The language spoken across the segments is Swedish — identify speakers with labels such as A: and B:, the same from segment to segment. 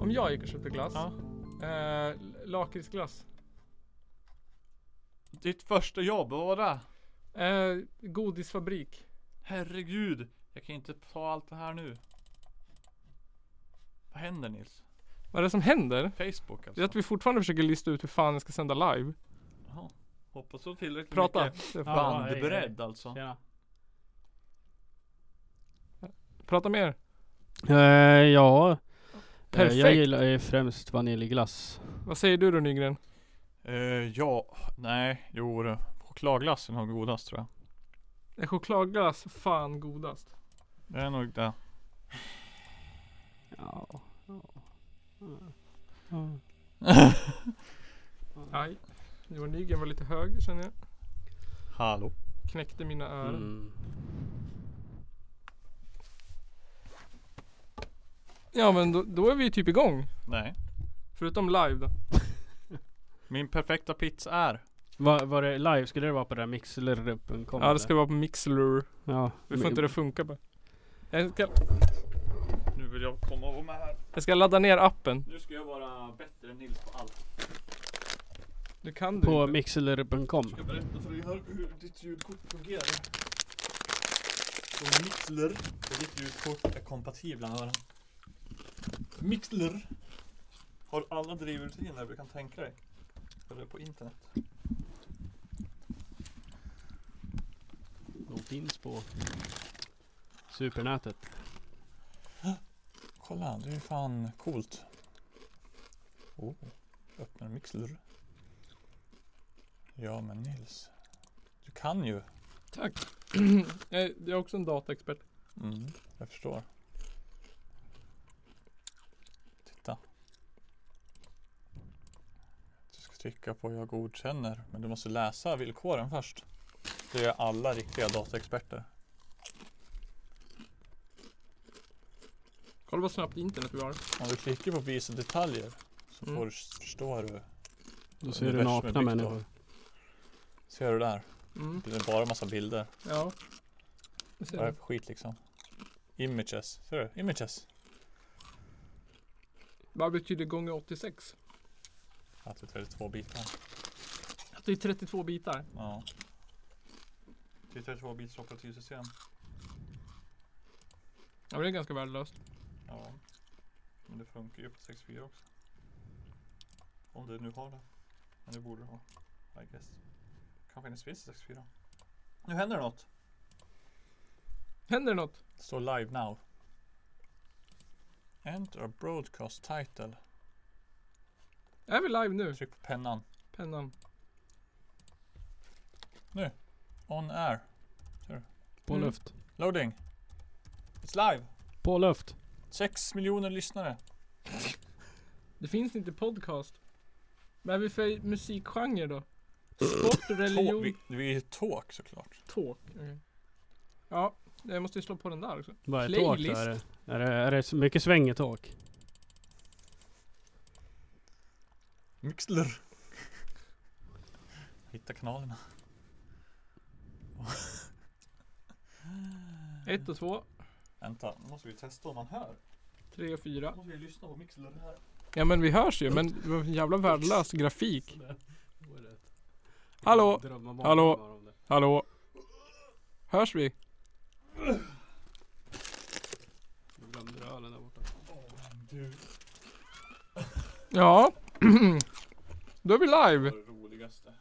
A: Om jag gick och köpte glass.
B: Ja.
A: Eh, Lakritsglass.
B: Ditt första jobb, vad var det?
A: Eh, godisfabrik.
B: Herregud. Jag kan inte ta allt det här nu. Vad händer Nils?
A: Vad är det som händer?
B: Facebook
A: Det
B: alltså?
A: är att vi fortfarande försöker lista ut hur fan jag ska sända live.
B: Jaha. Hoppas du har tillräckligt
A: Prata.
B: mycket
C: Ja, eh, hej,
B: bandbredd
C: hej.
B: alltså.
C: Tjena.
A: Prata mer.
C: Eh, ja. Eh, jag
A: Perfekt.
C: gillar eh, främst vaniljglass.
A: Vad säger du då Nygren?
B: Eh, ja, nej, jo du. Chokladglassen har godast tror jag.
A: Är chokladglass fan godast?
B: Det är nog det.
C: Ja. ja. Ja.
A: Aj. Johan Nygren var lite hög känner jag.
B: Hallå?
A: Knäckte mina öron.
C: Mm.
A: Ja men då, då är vi typ igång.
B: Nej.
A: Förutom live då.
B: Min perfekta pizza är.
C: Var, var det live? Skulle det vara på det där mixler.com?
A: Ja det ska vara på Mixler.
C: Ja.
A: Vi får inte det funka bara. Jag ska,
B: Nu vill jag komma och vara med här.
A: jag ska ladda ner appen.
B: Nu ska jag vara bättre än Nils på allt.
A: Det kan du
C: På
A: inte.
C: mixler.com.
B: Jag ska berätta för dig hur, hur ditt ljudkort fungerar. Så Mixler och ditt ljudkort är kompatibla med varandra. Mixler har alla drivrutiner du kan tänka dig. Eller på internet.
C: De finns på supernätet.
B: Kolla, det är fan coolt. Oh, öppnar Mixler. Ja men Nils, du kan ju.
A: Tack. jag, jag är också en dataexpert.
B: Mm, jag förstår. Titta. Du ska trycka på jag godkänner, men du måste läsa villkoren först. Det gör alla riktiga dataexperter.
A: Kolla vad snabbt internet vi har.
B: Om du klickar på visa detaljer så
A: Mm.
B: får du, förstår du.
C: Då ser du
B: Universum är
C: nakna
B: byggt av-
C: människor.
B: Ser du där?
A: Mm.
B: Det är bara massa bilder.
A: Ja. Jag ser
B: Vad är det
A: det.
B: för skit liksom? Images. Ser du? Images.
A: Vad betyder gånger 86?
B: Att det är två bitar.
A: Att det är 32 bitar.
B: Ja. Det är 32 bitars operativsystem.
A: Ja men det är ganska värdelöst.
B: Ja. Men det funkar ju på 64 också. Om det nu har det. Men det borde det ha. I guess. Kanske inte finns i 64. Nu händer det något.
A: Händer det något?
B: Det står live now. Enter a broadcast title.
A: Är vi live nu?
B: Tryck på pennan.
A: Pennan.
B: On air.
C: På
A: Mm.
C: luft.
B: Loading. It's live.
C: På luft.
B: 6 miljoner lyssnare.
A: Det finns inte podcast. Vad är vi för musikgenre då? Sport, religion,
B: Talk. Vi, vi är talk såklart.
A: talk. Okej. Ja, jag måste ju slå på den där också.
C: Vad är tåg
A: Playlist.
C: då? Är det, är det, är det så mycket sväng i tåg?
B: Mixler. Hitta kanalerna.
A: 1 och 2,
B: Vänta, nu måste vi testa om man hör.
A: 3 och 4.
B: Nu måste vi lyssna på Mixler här.
A: Ja men vi hörs ju men det var en jävla värdelös grafik. Hallå? Hallå? Hallå? Hörs vi?
B: Du,
A: Ja. Då är vi
B: det
A: live.
B: var det roligaste.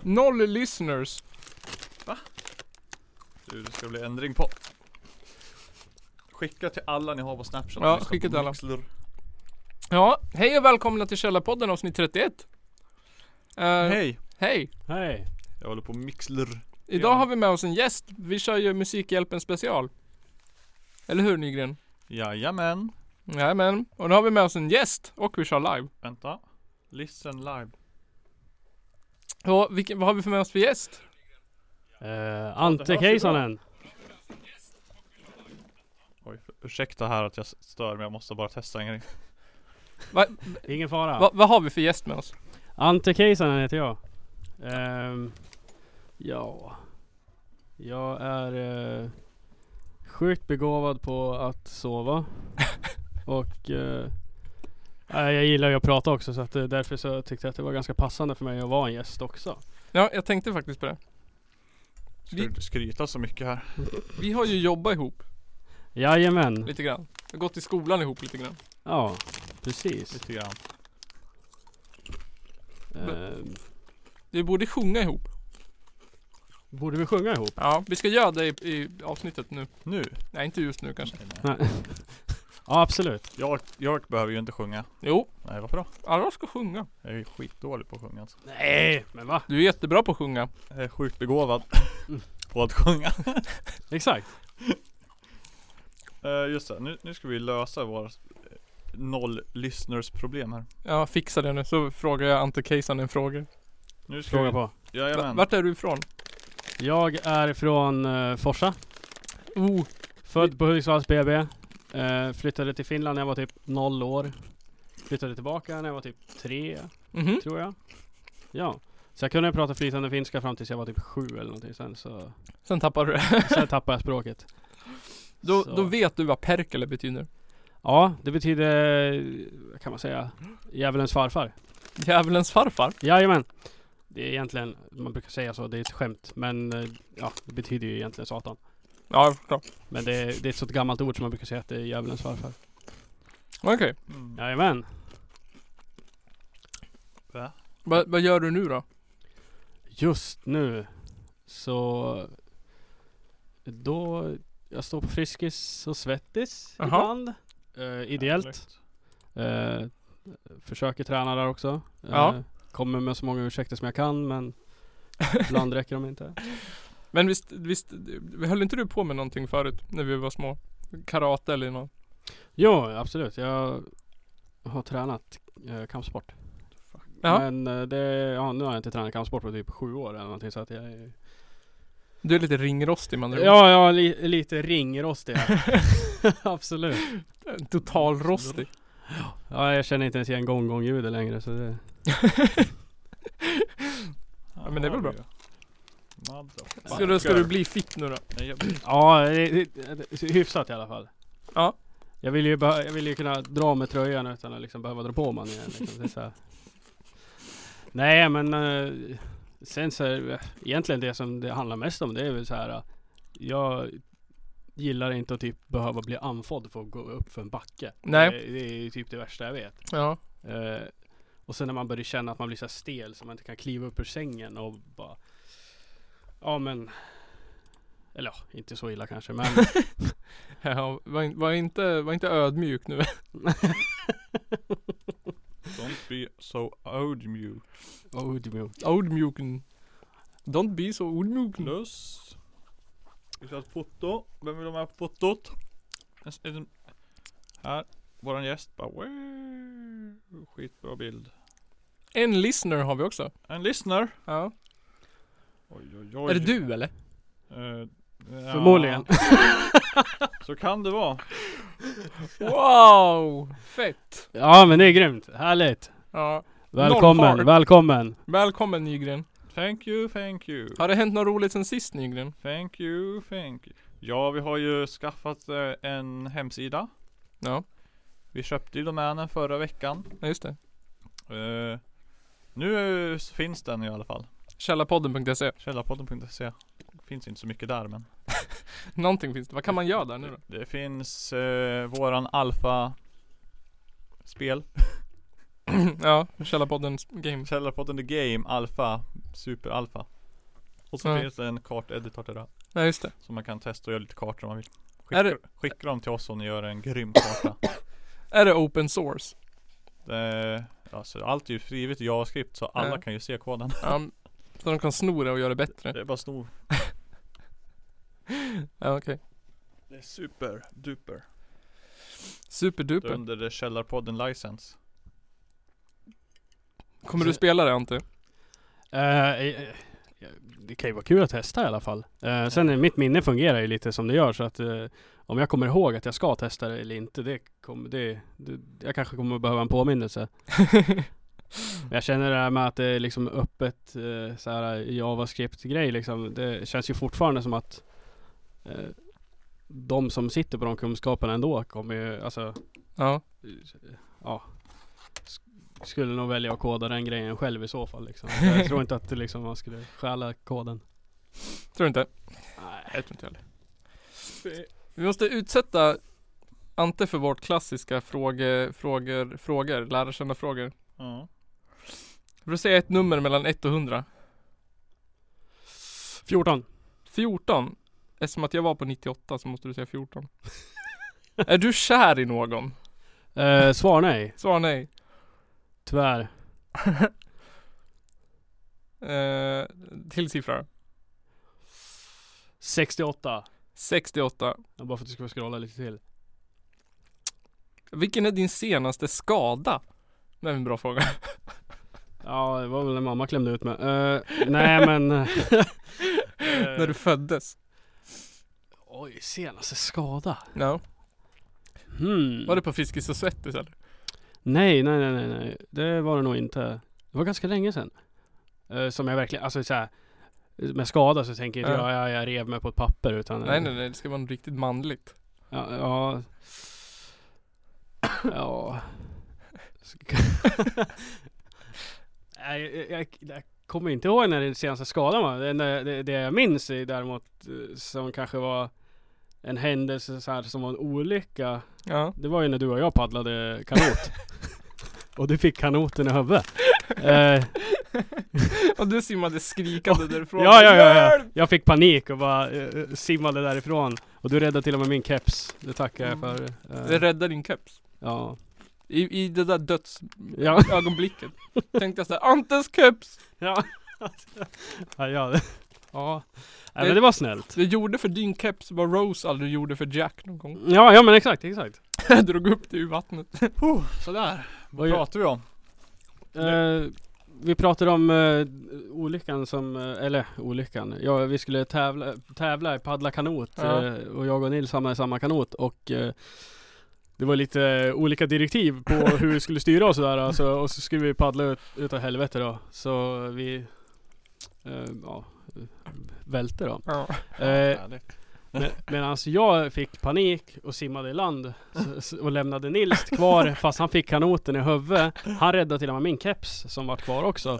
A: Noll listeners.
B: Du, det ska bli ändring på. Skicka till alla ni har på Snapchat.
A: Ja,
B: Lyssna
A: skicka
B: på
A: till alla.
B: Mixler.
A: Ja, hej och välkomna till Källarpodden avsnitt 31. Eh,
B: Hej!
A: Hej.
C: Hej!
B: Jag håller på Mixler.
A: Idag
B: Ja.
A: har vi med oss en gäst. Vi kör ju Musikhjälpen special. Eller hur Nygren?
B: Jajamän.
A: Jajamän. Och nu har vi med oss en gäst och vi kör live.
B: Vänta. Listen live.
A: Och vilken, vad har vi för med oss för gäst?
C: Eh,
B: det hörs
C: Ante
B: ju
C: Keisanen!
B: Oj, för, ursäkta här att jag s- stör men jag måste bara testa en grej.
C: Ingen fara.
A: Va, vad har vi för gäst med oss?
C: Ante Keisanen heter jag. Ehm, ja. Jag är eh, sjukt begåvad på att sova. Och eh, nej, jag gillar ju att prata också så att eh, därför så tyckte jag att det var ganska passande för mig att vara en gäst också.
A: Ja, jag tänkte faktiskt på det.
B: Ska
A: Vi-
B: du skryta så mycket här?
A: Vi har ju jobbat ihop
C: Jajamän.
A: lite grann. Vi har gått i skolan ihop lite grann.
C: Ja, precis.
B: Lite grann.
C: Eh,
A: Vi borde sjunga ihop.
C: borde vi sjunga ihop?
A: Ja, vi ska göra det i, i avsnittet nu.
B: Nu?
A: Nej, inte just nu kanske.
C: Nej. ja, absolut.
B: Jag, jag behöver ju inte sjunga.
A: Jo,
B: Nej varför då?
A: alla ska sjunga.
B: Jag är ju skitdålig på att sjunga alltså.
C: Nej, men va?
A: Du är jättebra på att sjunga.
B: Jag är sjukt begåvad
C: Mm.
B: på att sjunga.
C: Exakt.
B: Eh, just det, nu, nu ska vi lösa våra eh, noll lyssners problem här.
A: Ja, fixa det nu. Så frågar jag Ante Keisanen frågor.
B: Nu ska
C: Fråga
B: vi...
C: på.
A: Va-
B: Jajamän.
A: Vart är du ifrån?
C: Jag är från eh, Forsa.
A: Oh,
C: Född på Hudiksvalls BB. Eh, flyttade till Finland när jag var typ noll år. Flyttade tillbaka när jag var typ tre,
A: mhm.
C: tror jag. Ja. Så jag kunde prata flytande finska fram tills jag var typ sju eller någonting. Sen så
A: Sen tappade du det.
C: sen tappade jag språket.
A: Då,
C: Så.
A: då vet du vad perkele betyder.
C: Ja, det betyder, vad kan man säga, djävulens farfar.
A: Djävulens farfar.
C: Jajamän. Det är egentligen, man brukar säga så, det är ett skämt. Men eh, ja, det betyder ju egentligen satan.
A: Ja, jag förstår.
C: Men det är, det är ett sånt gammalt ord som man brukar säga att det är djävulens farfar.
A: Okej.
B: Mm.
C: Jajamän.
B: Va?
A: Va- vad gör du nu då?
C: Just nu så då jag står på Friskis och Svettis
A: Jaha.
C: ibland. Eh, ideellt.
B: Härligt.
C: Eh, försöker träna där också. Eh,
A: Ja.
C: Kommer med så många ursäkter som jag kan men ibland räcker de inte.
A: Men visst, visst, höll inte du på med någonting förut när vi var små? Karate eller något?
C: Jo, absolut. Jag har tränat eh, kampsport.
A: Ja.
C: Men eh, det, ja, nu har jag inte tränat kampsport på typ sju år eller någonting så att jag är...
A: Du är lite ringrostig man
C: Ja, jag är li- lite ringrostig här. Absolut.
A: Totalrostig.
C: Ja, jag känner inte ens igen gonggongljudet längre så det...
A: Ja, men det är väl bra.
B: Motherfucker.
A: Ska du, ska du bli fit nu då?
B: Nej, jag blir...
C: Ja, det, det, det, hyfsat i alla fall.
A: Ja.
C: Jag vill ju, behö- jag vill ju kunna dra med tröjan utan att liksom behöva dra på mig den igen. Liksom. Det är så här. Nej, men eh, sen så är det, egentligen det som det handlar mest om det är väl så här. eh, Jag gillar inte att typ behöva bli andfådd för att gå upp för en backe.
A: Nej.
C: Det, det är ju typ det värsta jag vet.
A: Ja.
C: Eh, och sen när man börjar känna att man blir så här stel så man inte kan kliva upp ur sängen och bara Ja men Eller ja, inte så illa kanske men
A: ja var, in- var, inte, var inte ödmjuk nu.
B: Don't be so old you.
C: Odmjuk
A: Ödmjuken. Don't be so ödmjuken.
B: Plus. Vi ska ha ett foto. Vem vill ha med på fotot? En, s- en, här. Våran gäst bara wow. Skitbra bild.
A: En listener har vi också.
B: En listener.
A: Ja.
B: Oj, oj, oj.
A: Är det du eller?
B: Eh, ja,
C: Förmodligen
B: Så kan det vara.
A: Wow! Fett!
C: Ja men det är grymt, härligt
A: Ja. Noll
C: Välkommen,
A: fart.
C: välkommen
A: Välkommen Nygren.
B: Thank you, thank you.
A: Har det hänt något roligt sen sist Nygren?
B: Thank you, thank you. Ja, vi har ju skaffat eh, en hemsida.
A: Ja.
B: Vi köpte ju domänen förra veckan.
A: Ja just det.
B: Eh, nu eh, finns den i alla fall.
A: Källarpodden.se.
B: Källarpodden.se. Finns inte så mycket där men.
A: Någonting finns det. Vad kan man göra där nu då?
B: Det finns eh, våran alfa spel.
A: ja, Källarpoddens game.
B: Källarpodden The Game Alfa. Super Alfa. Och så
A: Ja.
B: finns det en karteditor till det.
A: Ja just det.
B: Så man kan testa och göra lite kartor om man vill.
A: Är
B: Skicka,
A: det-
B: skicka dem till oss om ni gör en grym karta.
A: Är det open source?
B: Det, alltså, allt är ju skrivet i JavaScript så alla
A: Ja.
B: kan ju se koden.
A: Ja. Så de kan sno det och göra det bättre.
B: Det är bara snor.
A: Ja okej.
B: Det är super duper.
A: Superduper.
B: Under det Källarpodden License.
A: Kommer du spela det Ante?
C: Eh, eh, eh, Det kan ju vara kul att testa i alla fall Eh, Sen är mitt minne fungerar ju lite som det gör så att eh, Om jag kommer ihåg att jag ska testa det eller inte det kommer, det, det Jag kanske kommer behöva en påminnelse Men jag känner det här med att det är liksom öppet eh, så här JavaScript-grej liksom. Det känns ju fortfarande som att eh, de som sitter på de kunskaperna ändå kommer ju, alltså,
A: Ja.
C: ja. s- Skulle nog välja att koda den grejen själv i så fall liksom. Jag tror inte att det liksom, man skulle stjäla koden.
A: Tror du inte?
C: Nej.
A: Jag tror inte heller. Vi måste utsätta Ante för vårt klassiska fråge, frågor, frågor, lära känna frågor.
B: Ja.
A: Får du säga ett nummer mellan 1 och 100?
C: 14.
A: 14. Eftersom att jag var på 98 så måste du säga 14. är du kär i någon?
C: Eh, svar nej.
A: Svar nej.
C: Tyvärr.
A: Eh, till siffra.
C: 68.
A: 68.
C: Ja, Bara för att du ska få scrolla lite till.
A: Vilken är din senaste skada? Det är en bra fråga.
C: Ja, det var väl när mamma klämde ut mig. Eh, nej men... eh,
A: När du föddes?
C: Oj, senaste skada.
A: Ja.
C: Hmm.
A: Var det på Fiskis och Svettis eller?
C: Nej, nej, nej, nej, nej. Det var det nog inte. Det var ganska länge sedan. Eh, som jag verkligen, alltså såhär. Med skada så tänker inte
A: Ja.
C: jag, jag, jag rev mig på ett papper utan... eh,
A: Nej nej nej, det ska vara något riktigt manligt.
C: Ja. Ja. ja. Nej, jag, jag, jag kommer inte ihåg när den senaste skadan var. Det, enda- det, det jag minns är däremot eh, som kanske var en händelse så här, som var en olycka.
A: Ja.
C: Det var ju när du och jag paddlade kanot. och du fick kanoten i huvudet. Eh,
A: Och du simmade skrikande därifrån.
C: ja, ja, ja, ja.
A: Hjälp!
C: Jag fick panik och bara eh, simmade därifrån. Och du räddade till och med min keps. Det tackar jag för.
A: Det
C: Eh,
A: räddade din keps.
C: ja.
A: I, I det där
C: Ja.
A: dödsögonblicket. Tänkte jag såhär, Antes keps!
C: Ja. ja, ja. det- ja. Nej,
A: Det-
C: men det var snällt.
A: Det gjorde för din keps vad Rose aldrig gjorde för Jack någon gång.
C: Ja, ja men exakt, exakt.
A: Jag drog upp det ur vattnet.
B: Sådär.
C: Vad
B: Vad
C: gör-
B: pratar vi om?
C: Eh, vi pratade om eh, olyckan som, eh, eller olyckan. Ja, vi skulle tävla, tävla i paddla kanot
A: Ja.
C: eh, och jag och Nils hamnade i samma kanot och eh, det var lite eh, olika direktiv på hur vi skulle styra och sådär alltså, och så skulle vi paddla ut, utav helvete då. Så vi eh, ja, välte då.
A: Ja.
C: Eh,
B: Härligt.
C: Men, Medan jag fick panik och simmade i land så, så, och lämnade Nils kvar fast han fick kanoten i huvudet. Han räddade till och med min keps som var kvar också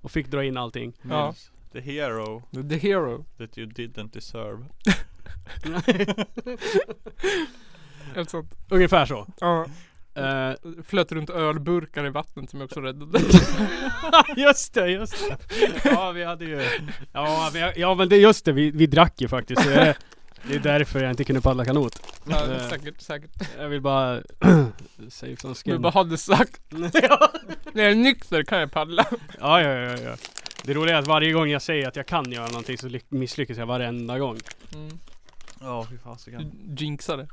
C: och fick dra in allting.
A: Ja.
B: Nils, The hero
A: The hero.
B: that you didn't deserve.
A: Helt sant.
C: Ungefär så.
A: Ja.
C: Eh,
A: Flöt runt ölburkar i vattnet som jag också räddade.
C: just det, just det. Ja, vi hade ju... Ja, men, ja, men det, just det, vi, vi drack ju faktiskt. Det är, det är därför jag inte kunde paddla kanot.
A: Ja,
C: Eh.
A: säkert, säkert.
C: Jag vill bara... Safe som
A: Du
C: skin.
A: bara hade sagt, när jag är nykter kan jag paddla.
C: Ja, ja, ja, ja. Det roliga är att varje gång jag säger att jag kan göra någonting så ly- misslyckas jag varenda gång.
A: Mm.
B: Ja, fy fasiken.
A: Du jinxade.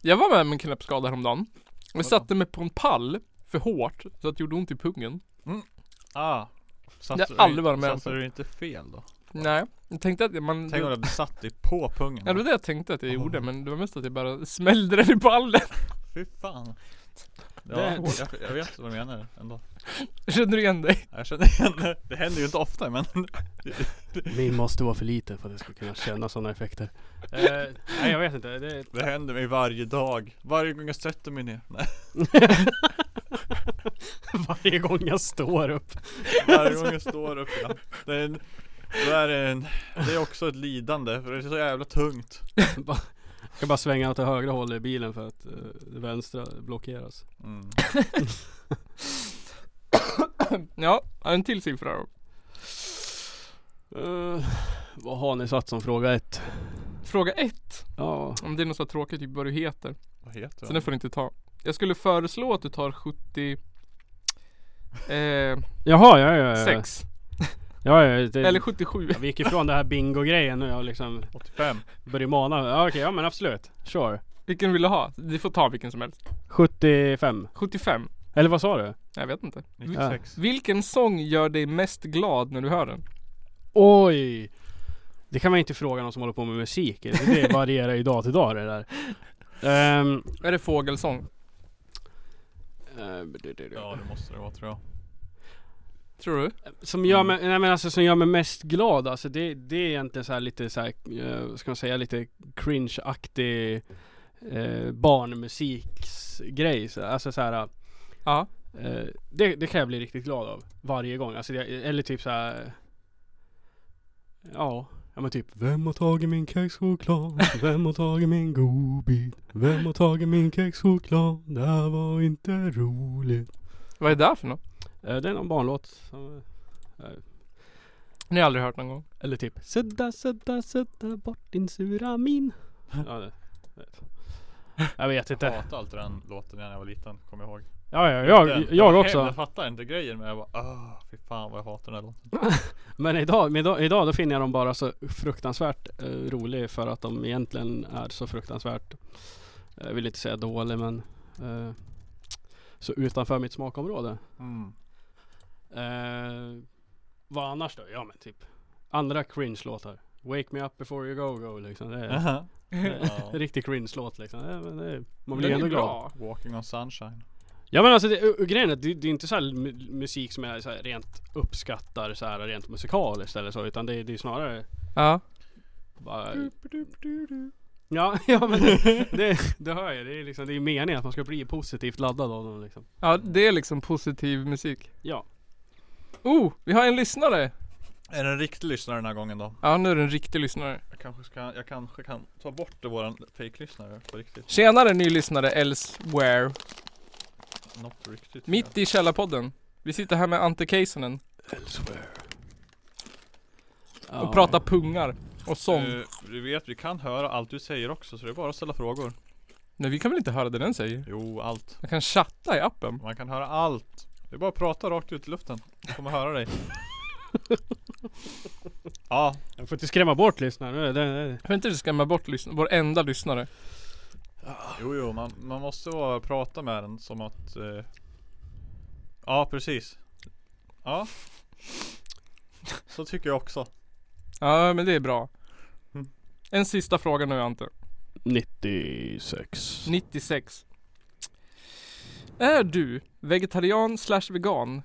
A: Jag var med om en knäppskada häromdagen. Jag satte mig på en pall för hårt så att det gjorde ont i pungen.
B: Ah. Satt
A: Jag har
B: du-
A: aldrig varit med om
B: Satte
A: så.
B: du inte fel då?
A: Nej, jag tänkte att man...
B: Tänk om du hade satt dig på pungen.
A: Ja det var det jag tänkte att jag
B: Oh.
A: gjorde men det var mest att jag bara smällde den i ballen.
B: Fy fan. Ja,
C: Det-
B: jag, jag vet vad du menar ändå.
A: Känner du igen dig?
B: Jag känner igen det. Det händer ju inte ofta men.
C: Min måste vara för liten för att jag ska kunna känna sådana effekter. Eh, nej, jag vet inte. Det...
B: Det händer mig varje dag. Varje gång jag sätter mig ner. Nej,
C: Varje gång jag står upp.
B: varje gång jag står upp. Ja. Det, är en, det, är en, det är också ett lidande för det är så jävla tungt.
C: Jag ska bara svänga åt det högra hållet i bilen för att eh, det vänstra blockeras.
B: Mm.
A: Ja, en till siffra då.
C: Eh, vad har ni satt som fråga ett?
A: Fråga ett.
C: Ja.
A: Om det är något så här tråkigt, typ vad du heter.
B: Vad heter
A: Så den får du inte ta. Jag skulle föreslå att du tar 70... Eh,
C: Jaha, ja, ja,
B: Eh.
C: ja.
A: sex.
C: Ja, ja, det...
A: Eller 77.
C: Jag gick ifrån det här bingo-grejen nu jag liksom
B: 85.
C: började mana. Ja, okej, ja men absolut. Sure.
A: Vilken vill du ha? Du får ta vilken som helst.
C: 75.
A: 75.
C: Eller vad sa du?
A: Jag vet inte.
B: 96.
A: Vilken sång gör dig mest glad när du hör den?
C: Oj! Det kan man inte fråga någon som håller på med musik. Det varierar ju dag till dag det där. Ehm,
A: Är det fågelsång?
C: Eh, du- du- du.
B: Ja det måste det vara tror jag.
A: Tror du?
C: Som gör mig, nej men alltså som gör mig mest glad alltså det, det är egentligen så här lite så här, eh, vad ska man säga lite cringe-aktig eh, barnmusiksgrej. Så- Alltså så här,
A: Ja.
C: eh, det, det kan jag bli riktigt glad av varje gång. Alltså det, eller typ så här. Ja, ja men typ Vem har tagit min kexchoklad? Vem har tagit min godbit? Vem har tagit min kexchoklad? Det här var inte roligt.
A: Vad är det där för något?
C: Eh, det är någon barnlåt som
A: Ni har aldrig hört någon gång?
C: Eller typ Sudda, sudda, sudda bort din sura min Ja det vet. Jag vet
B: Jag
C: inte
B: hatade alltid den låten när jag var liten, kommer jag ihåg.
C: Ja ja, jag,
B: Den-
C: jag
B: Jag
C: också
B: fattar inte grejen men jag bara ah, fy fan vad jag hatar den här låten.
C: Men idag, men idag, idag då finner jag dem bara så fruktansvärt eh, rolig För att de egentligen är så fruktansvärt Jag vill inte säga dålig men eh, Så utanför mitt smakområde
B: Mm.
C: eh, Vad annars då? Ja men typ Andra cringe-låtar Wake me up before you go go liksom det är,
B: Ja.
C: Riktig cringe-låt liksom Eh, men det är, Man
A: Den
C: blir
A: är
C: ändå glad
A: bra.
B: Walking on sunshine.
C: Ja men alltså det, och grejen är att det, det är inte så här mu- musik som jag så här rent uppskattar så här rent musikaliskt eller så utan det, det är snarare
A: Ja.
C: bara... Ja, ja men det, det, det hör jag. Det är liksom, det är meningen att man ska bli positivt laddad av dem liksom.
A: Ja, det är liksom positiv musik.
C: Ja.
A: Oh, vi har en lyssnare!
B: Är det en riktig lyssnare den här gången då?
A: Ja, nu är det en riktig lyssnare.
B: Jag kanske ska, jag kanske kan ta bort det, våran fake-lyssnare på riktigt.
A: Tjenare ny lyssnare elsewhere.
B: Not riktigt.
A: Mitt i Källarpodden. Vi sitter här med Ante Keisonen och
C: Ja.
A: pratar pungar och sång.
B: Du, du vet, vi kan höra allt du säger också så det är bara att ställa frågor.
A: Nej, vi kan väl inte höra det den säger?
B: Jo, allt.
A: Jag kan chatta i appen.
B: Man kan höra allt. Det är bara att prata rakt ut i luften. Jag kommer höra dig. Ja,
C: Jag får inte skrämma bort lyssnaren. Det, det, det.
A: Jag vill inte du skrämma bort lyssn- vår enda lyssnare.
B: jo jo, man, man måste vara, prata med den som att... Eh, ja, precis. Ja. Så tycker jag också.
A: Ja, men det är bra.
B: Mm.
A: En sista fråga nu Ante.
C: 96.
A: 96. Är du vegetarian slash vegan?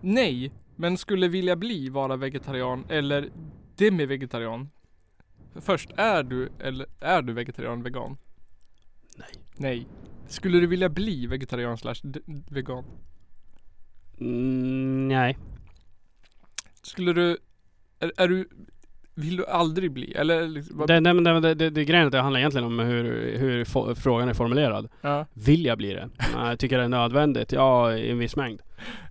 A: Nej, men skulle vilja bli vara vegetarian eller demi-vegetarian? Först, är du eller är du vegetarian vegan?
C: Nej.
A: Nej. Skulle du vilja bli vegetarian slash d- vegan?
C: Mm, nej.
A: Skulle du, är, är du, vill du aldrig bli? Eller liksom, vad-
C: Det, nej, men det, det, det, det grejen är att det handlar egentligen om hur, hur fo- frågan är formulerad.
A: ja.
C: Vill jag bli det? Nej, jag tycker det är nödvändigt. Ja, i en viss mängd.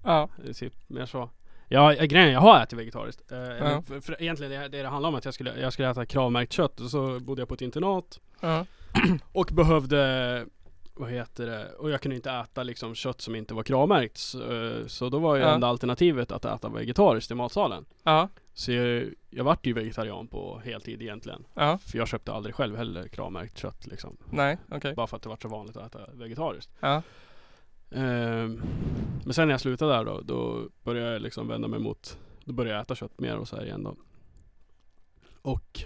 A: ja.
C: Det är Typ mer så. Ja, eh, grejen är, jag har ätit vegetariskt. Eh, eller
A: Ja.
C: för, för egentligen det det, det handlar om att jag skulle, jag skulle äta kravmärkt kött och så bodde jag på ett internat
A: ja.
C: och behövde vad heter det? Och jag kunde inte äta liksom kött som inte var kravmärkt så, eh, så då var ju
A: Ja.
C: enda alternativet att äta vegetariskt i matsalen.
A: ja.
C: Så jag, jag vart ju vegetarian på heltid egentligen.
A: ja.
C: För jag köpte aldrig själv heller kravmärkt kött liksom.
A: Nej, okej.
C: Bara för att det var så vanligt att äta vegetariskt.
A: Ja.
C: Ehm, men sen när jag slutade där då, då började jag liksom vända mig mot, då började jag äta kött mer och så här igen då. Och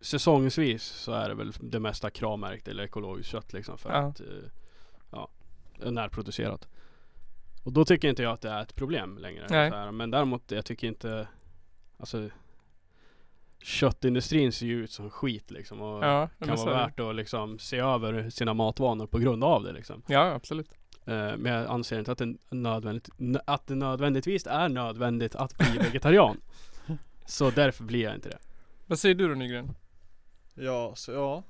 C: säsongsvis så är det väl det mesta kravmärkt eller ekologiskt kött liksom för
A: Ja.
C: att eh, ja, det är närproducerat. Och då tycker inte jag att det är ett problem längre.
A: Nej.
C: Så här, men däremot jag tycker inte, alltså köttindustrin ser ju ut som skit liksom. Och,
A: Ja, men
C: kan
A: så
C: vara
A: är det.
C: värt att liksom se över sina matvanor på grund av det liksom.
A: Ja, absolut.
C: Eh, Men jag anser inte att det, nödvändigt, nö- att det nödvändigtvis är nödvändigt att bli vegetarian. Så därför blir jag inte det.
A: Vad säger du då Nygren?
B: Ja, så ja.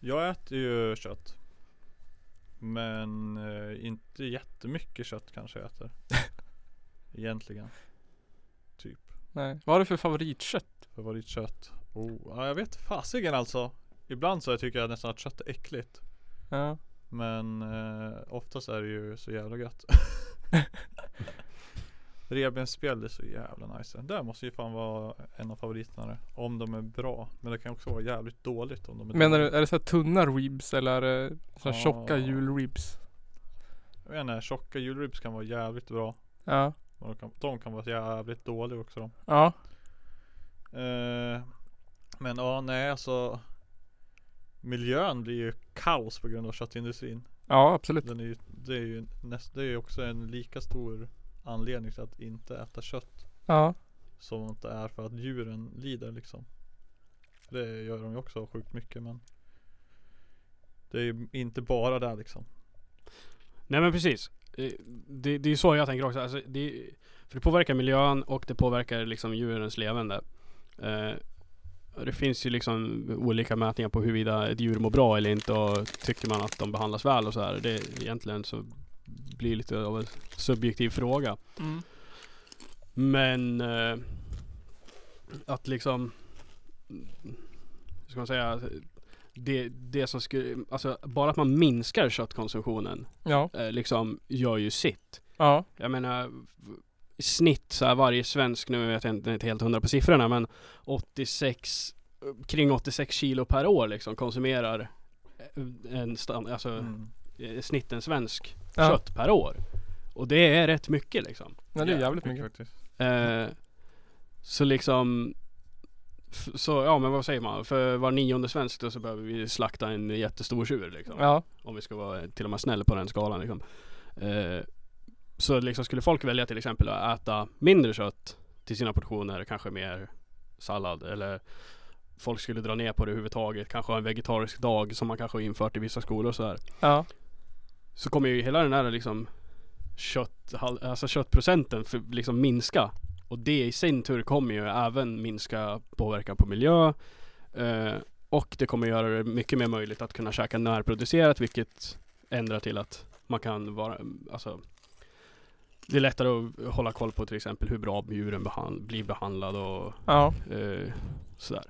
B: Jag äter ju kött. Men eh, inte jättemycket kött kanske jag äter. Egentligen. Typ.
A: Nej. Vad har du för favoritkött?
B: Favoritkött. Oh, ja, jag vet fasiken alltså. Ibland så tycker jag nästan att kött är äckligt.
A: Ja.
B: Men eh, oftast är det ju så jävla gött. Revbensspjäll är så jävla nice. Det där måste ju fan vara en av favoriterna. Om de är bra. Men det kan också vara jävligt dåligt om de är
A: Menar
B: dåliga.
A: du, är det så här tunna ribs eller är det så här
B: Ja.
A: tjocka julribs?
B: Jag vet inte, tjocka julribs kan vara jävligt bra.
A: Ja.
B: Och De kan, de kan vara jävligt dåliga också. De.
A: Ja.
B: Eh, men ja, nej alltså. Miljön blir ju kaos på grund av köttindustrin.
A: Ja, absolut.
B: Den är ju, det, är ju näst, det är ju också en lika stor anledning till att inte äta kött
A: Ja.
B: som att det är för att djuren lider liksom. Det gör de ju också sjukt mycket men det är ju inte bara det liksom.
C: Nej men precis. Eh, Det, det är så jag tänker också. Alltså, det, för det påverkar miljön och det påverkar liksom djurens levande. Eh, och det finns ju liksom olika mätningar på huruvida ett djur mår bra eller inte och tycker man att de behandlas väl och så här. Det är egentligen så blir lite av en subjektiv fråga.
A: Mm.
C: Men eh, att liksom, hur ska man säga, det, det som skulle, alltså bara att man minskar köttkonsumtionen
A: Ja.
C: eh, liksom gör ju sitt.
A: Ja.
C: Jag menar i snitt så här varje svensk, nu vet jag inte, inte helt hundra på siffrorna men 86, kring 86 kilo per år liksom konsumerar en stand, alltså
B: Mm.
C: eh, snitt en svensk
A: Ja.
C: kött per år. Och det är rätt mycket liksom.
A: Nej, det är jävligt
B: Mycket
A: mycket.
B: faktiskt.
C: Eh, så liksom f- så, ja men vad säger man? För var nionde svensk då så behöver vi slakta en jättestor tjur liksom.
A: Ja.
C: Om vi ska vara till och med snäll på den skalan liksom. Eh, så liksom skulle folk välja till exempel att äta mindre kött till sina portioner, kanske mer sallad eller folk skulle dra ner på det överhuvudtaget, kanske ha en vegetarisk dag som man kanske har infört i vissa skolor och sådär.
A: Ja.
C: Så kommer ju hela den här liksom kött, alltså köttprocenten för, liksom minska. Och det i sin tur kommer ju även minska påverkan på miljö. Eh, och det kommer göra det mycket mer möjligt att kunna käka närproducerat vilket ändrar till att man kan vara, alltså det är lättare att hålla koll på till exempel hur bra djuren behand, blir behandlade och
A: Ja.
C: eh, sådär.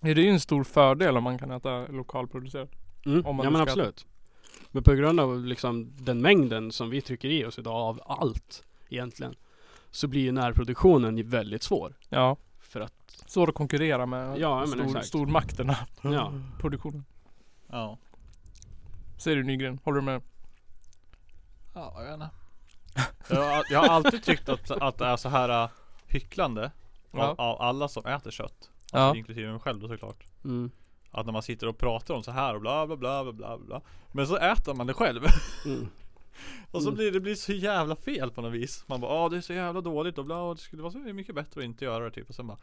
A: Det är ju en stor fördel om man kan äta lokalproducerat.
C: Mm.
A: Om man
C: ja
A: nu
C: men
A: ska-
C: absolut. Men på grund av liksom den mängden som vi trycker i oss idag av allt egentligen. Så blir ju närproduktionen väldigt svår.
A: Ja.
C: För att,
A: Svår att konkurrera med
C: Ja, men
A: stor,
C: exakt.
A: stormakterna.
C: ja.
A: Produktionen.
B: Ja.
A: Säger du Nygren? Håller du med?
B: Ja, jag vet inte. jag, har- jag har alltid tyckt att, att det är så här äh, hycklande
A: Ja.
B: av, av alla som äter kött.
A: Ja.
B: Inklusive mig själv då såklart.
C: Mm.
B: Att när man sitter och pratar om så här och bla bla bla bla bla bla Men så äter man det själv
C: Mm.
B: Och så
C: Mm.
B: blir det blir så jävla fel på något vis Man bara ah det är så jävla dåligt och bla och det skulle vara så mycket bättre att inte göra det typ Och sen bara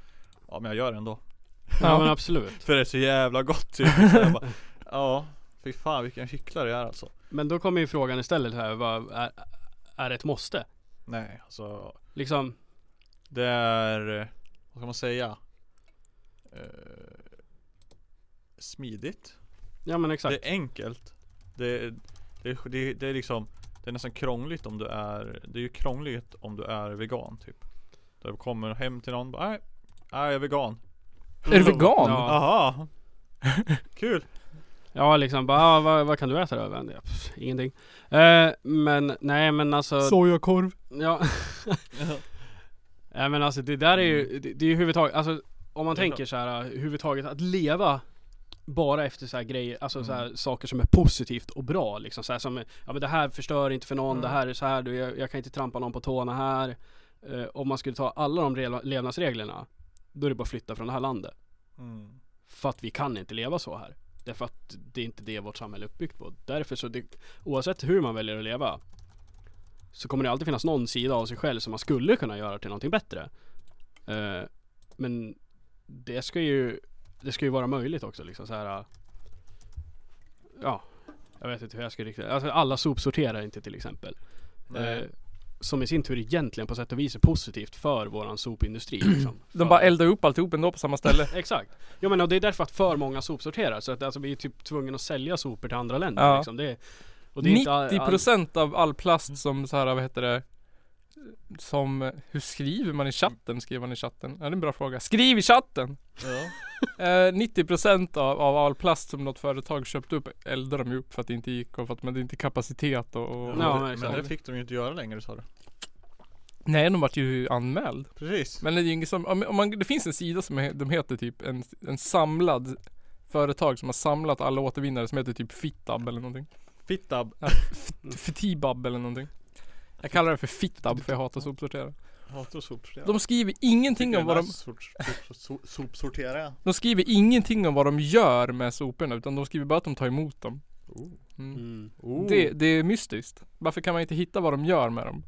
B: Ja men jag gör det ändå
C: ja men
A: Ja.
C: absolut.
B: För det är så jävla gott typ Så jag bara, Ja Fy fan vilken hycklare jag är alltså
C: Men då kommer ju frågan istället här, vad är, är det ett måste?
B: Nej alltså
C: Liksom,
B: Det är, eh, vad kan man säga? Eh, smidigt.
C: ja men exakt.
B: Det är enkelt. Det, det, det, det är liksom, det är nästan krångligt om du är, det är ju krångligt om du är vegan typ. Du kommer hem till någon bara, nej, nej jag är vegan.
A: Är du vegan?
C: Mm. Ja,
B: Aha! Kul!
C: ja liksom bara, ah, vad, vad kan du äta då? Vän? Ja, pff, Ingenting. Eh, men nej men alltså.
A: Sojakorv.
C: Ja. Nej men alltså det där är ju, det, det är ju huvudtaget, alltså om man
B: Mm. Det är
C: tänker så här äh, huvudtaget att leva bara efter så här grejer, alltså så här
B: Mm.
C: saker som är positivt och bra liksom så här som, ja men det här förstör inte för någon,
A: Mm.
C: det här är så här, du, jag, jag kan inte trampa någon på tårna här. Eh, om man skulle ta alla de rela- levnadsreglerna, då är det bara att flytta från det här landet.
B: Mm.
C: För att vi kan inte leva så här. Därför att det är inte det vårt samhälle är uppbyggt på. Därför så, det, oavsett hur man väljer att leva så kommer det alltid finnas någon sida av sig själv som man skulle kunna göra till någonting bättre. Eh, men det ska ju, det ska ju vara möjligt också liksom så här. eh, Ja, jag vet inte hur jag ska riktigt. Alltså alla sopsorterar inte till exempel.
B: Nej.
C: Eh, som i sin tur egentligen på sätt och vis är positivt för våran sopindustri. Liksom.
A: De
C: För-
A: bara eldar upp alltihop ändå på samma ställe.
C: Exakt. Ja men och det är därför att för många sopsorterar. Så att alltså, vi är typ tvungna att sälja sopor till andra länder
A: Ja.
C: liksom. Det är, och det är inte all, Mm.
A: 90% av all plast som så här, vad heter det? Som, hur skriver man i chatten? Skriver man i chatten? Ja, det är en bra fråga. Skriv i chatten!
B: Ja.
A: Eh, 90% av, av all plast som något företag köpte upp eldar de ju upp för att det inte gick och för att man det inte är kapacitet och, och
C: Ja, men
B: men, det, men
C: exakt.
B: det fick de ju inte göra längre sa du.
A: Nej, de vart ju anmäld.
B: Precis.
A: Men det är ju inget som, om om man, det finns en sida som he- de heter typ en, en samlad företag som har samlat alla återvinnare som heter typ Fittab eller någonting.
B: Fittab.
A: Fitibab eller någonting. Jag kallar det för Fittab för jag hatar sopsortera.
B: Hatar sopsortera.
A: De skriver ingenting om vad de,
B: Sopsortera.
A: de skriver ingenting om vad de gör med soporna utan de skriver bara att de tar emot dem.
D: Oh.
A: Mm.
C: Mm.
D: Oh.
A: Det, det är mystiskt. Varför kan man inte hitta vad de gör med dem?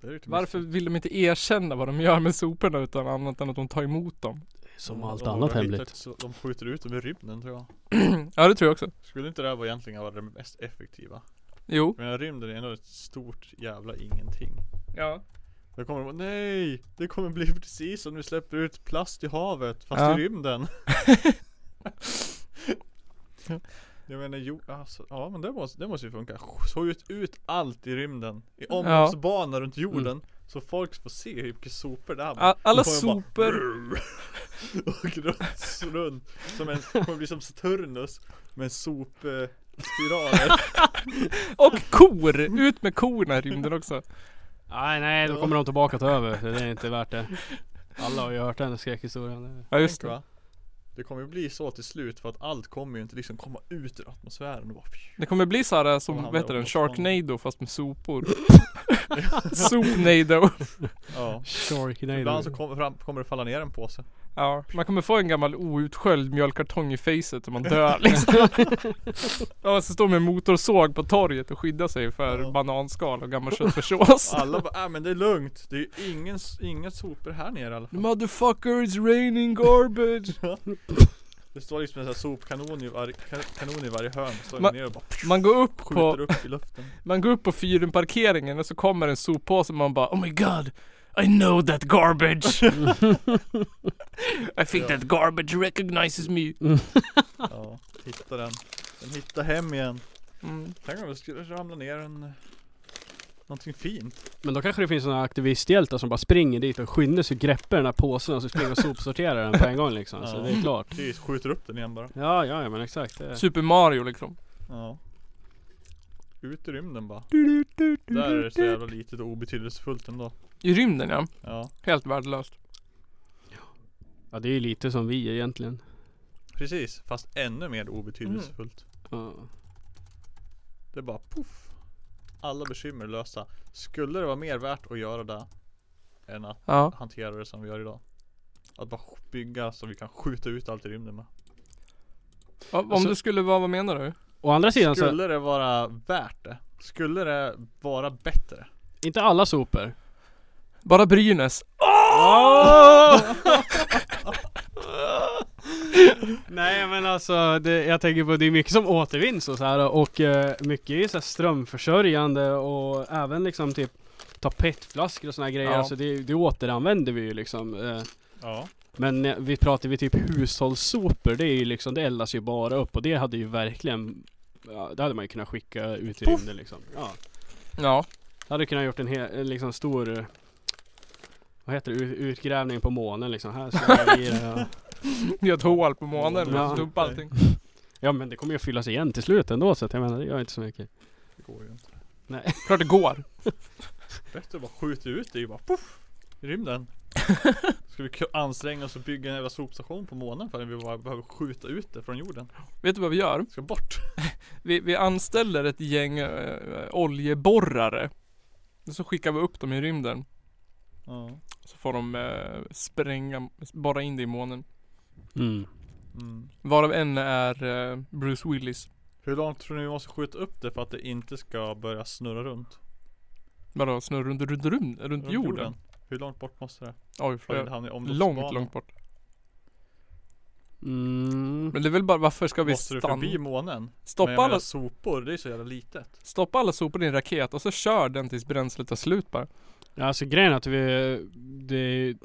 D: Det är lite
A: Varför
D: mysigt.
A: vill de inte erkänna vad de gör med soporna utan annat än att de tar emot dem?
C: Som
D: Mm,
C: allt
D: de har
C: annat
B: hittat
C: hemligt.
B: så- De skjuter ut dem i rymden tror jag.
A: ja det tror jag också.
B: Skulle inte det här vara egentligen vara det mest effektiva?
A: Jo.
B: Men rymden är ändå ett stort jävla ingenting.
A: Ja.
B: Då kommer de bara, nej! Det kommer bli precis som när vi släpper ut plast i havet fast
A: Ja.
B: i rymden. Jag menar jo, alltså, ja men det måste, det måste ju funka. Skjut ut allt i rymden. I omloppsbana runt jorden. Så folk får se hur mycket sopor det är.
A: Mm. Alla
B: Då kommer de bara,
A: sopor.
B: och runt, runt som en, kommer bli som Saturnus med sopspiraler
A: Och kor! Ut med korna i rymden också.
C: Nej nej, då kommer de tillbaka och tar över. så Det är inte värt det. Alla har ju hört den skräckhistorien.
A: Ja just det.
B: va? Det kommer ju bli så till slut för att allt kommer ju inte liksom komma ut ur atmosfären och bara fju.
A: Det kommer bli såhär
B: Vad
A: som, vad
B: handlar
A: heter
B: det
A: den?
B: om?
A: Sharknado fast med sopor. Sopnado.
B: Ja Ibland så
C: Sharknado.
B: kommer, fram, kommer det falla ner en påse
A: Ja, man kommer få en gammal outsköljd mjölkartong i facet om man dör liksom. Ja, så står man med motorsåg på torget och skyddar sig för
B: Ja.
A: bananskal och gammal köttfärssås.
B: Alla bara, äh, men det är lugnt Det är ju ingen, s- inga sopor här nere i alla fall
A: Motherfucker it's raining garbage.
B: Det står liksom en sån här sopkanon i varje, ka- kanon i varje hörn Står
A: Ma-
B: ner och bara
A: Man går upp
B: skjuter
A: på,
B: upp i luften
A: man går upp på fyrenparkeringen och så kommer en soppåse och man bara Oh my god, I know that garbage. I think that garbage recognizes me.
B: Ja, hitta den Den hittar hem igen
A: Mm.
B: Tänk om det skulle ramla ner en Någonting fint
C: Men då kanske det finns sådana aktivisthjältar som bara springer dit och skyndar sig och greppar den här påsen och så springer och sopsorterar den på en gång liksom. Så
B: Ja.
C: det är klart.
B: Precis, skjuter upp den igen bara
C: Ja, ja, ja men exakt. Det
A: Super Mario liksom.
B: Ja Ut i rymden bara Där är det så jävla litet och obetydelsefullt ändå
A: I rymden ja,
B: Ja
A: helt värdelöst.
C: Ja det är ju lite som vi egentligen.
B: Precis, fast ännu mer obetydelsefullt
C: Ja.
B: Det är bara poff Alla bekymmer är lösta Skulle det vara mer värt att göra det Än att
A: Ja.
B: hantera det som vi gör idag Att bara bygga så vi kan skjuta ut allt i rymden med
A: Om
C: Alltså-
A: det skulle vara, vad menar du?
C: Å andra sidan så,
B: Skulle det vara värt det? Skulle det vara bättre?
C: inte alla sopor.
A: Bara Brynäs.
C: Nej men alltså, det, jag tänker på det är mycket som återvinns och så här och eh, mycket är ju så här strömförsörjande och även liksom typ tapetflaskor och såna här grejer.
A: Ja.
C: Alltså det, det återanvänder vi ju liksom. Eh,
B: Ja
C: men eh, vi pratar vi typ hushållssopor, det är ju liksom, det eldas ju bara upp och det hade ju verkligen Ja, det hade man ju kunnat skicka ut i rymden liksom. Ja.
A: Ja.
C: Hade kunnat gjort en hel, en liksom stor eh, Vad heter det? Ut- Utgrävning på månen liksom. Här slänger vi i det. Ja.
A: Gör ett hål på månen
C: Ja.
A: och så upp allting.
C: ja men det kommer ju att fyllas igen till slut ändå så att jag menar det gör inte så mycket.
B: Det går ju inte
A: Klart det går.
B: Bättre att bara skjuta ut det är ju bara poff I rymden Ska vi k- anstränga oss och bygga en jävla sopstation på månen för att vi bara behöver skjuta ut det från jorden?
A: Vet du vad vi gör?
B: Ska bort!
A: Vi, vi anställer ett gäng eh, oljeborrare. Och så skickar vi upp dem i rymden.
B: Ja
A: Så får de eh, spränga, borra in det i månen.
C: Mm.
B: mm.
A: Varav en är eh, Bruce Willis.
B: Hur långt tror ni vi måste skjuta upp det för att det inte ska börja snurra runt?
A: Vadå, snurr runt, runt, runt, runt
B: Runt
A: jorden?
B: Hur långt bort måste det?
A: Oj,
B: För att
A: för
B: det hamnar i
A: långt,
B: omloppsbanan.
A: långt bort.
C: Mm.
A: Men det är väl bara varför ska vi
B: Måste det förbi
A: stanna?
B: månen? Men
A: Stoppa
B: jag menar,
A: alla,
B: sopor, det är så jävla litet
A: stoppa alla sopor i en raket och så kör den tills bränslet tar slut bara.
C: Ja, Alltså grejen är att vi, det är,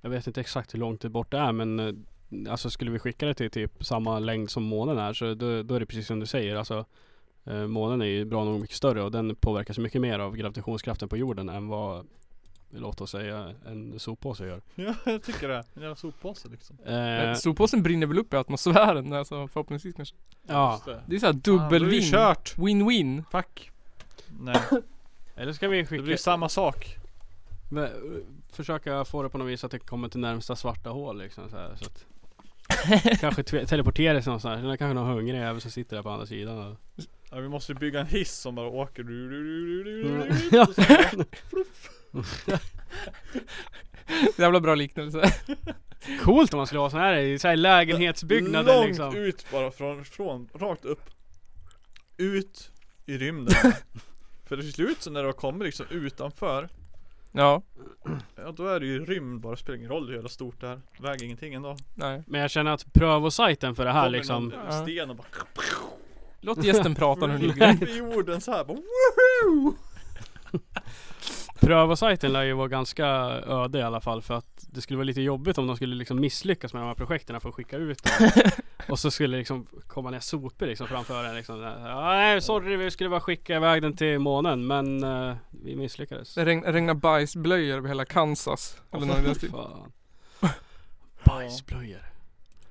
C: Jag vet inte exakt hur långt det bort det är men eh, Alltså skulle vi skicka det till typ samma längd som månen är så då, då är det precis som du säger alltså eh, Månen är ju bra nog mycket större och den påverkas mycket mer av gravitationskraften på jorden än vad Låt oss säga en soppåse gör.
B: Ja jag tycker det, en jävla soppåse liksom
C: Eh,
A: Men Soppåsen brinner väl upp i atmosfären alltså förhoppningsvis kanske.
C: ja.
B: Just det.
A: Det är såhär
B: Fan, då är det ju
A: dubbelvinn.
B: kört!
A: Win-win.
B: Fuck Nej,
C: Eller ska vi
B: det
C: skicka
B: blir samma sak
C: Men, eh, Försöka få det på något vis att det kommer till närmsta svarta hål liksom så, här, så att Kanske tve- teleportera sig någonstans, eller kanske någon hungrig jävel som sitter där på andra sidan och...
B: Ja, vi måste ju bygga en hiss som bara åker du, du, du, du, du, du.
C: Mm. Ja.
A: Jävla bra liknelse.
C: Coolt om man skulle ha sån här i så här lägenhetsbyggnader
B: Långt
C: liksom
B: ut bara från, från, rakt upp ut i rymden. För till slut så när du kommer liksom utanför,
A: Ja,
B: ja då är det ju rymd bara, det spelar ingen roll hur jävla stort det är. Väger ingenting ändå.
A: nej.
C: Men jag känner att prövosajten för det här
B: Kommer
C: liksom
B: någon
A: Ja.
B: Sten och bara
A: Låt gästen prata nu Nygren.
B: upp i jorden så här. Bara, woohoo!
C: Prövosajten lär ju vara ganska öde i alla fall för att det skulle vara lite jobbigt om de skulle liksom misslyckas med de här projekten för att skicka ut dem. Och så skulle det liksom komma ner sopor liksom framför en liksom. "Ah, Nej sorry vi skulle bara skicka iväg den till månen men eh, vi misslyckades.
A: Det regn, regnar bajsblöjor över hela Kansas. Eller något i den stilen.
C: Fan.
B: Ja.
C: Bajsblöjor.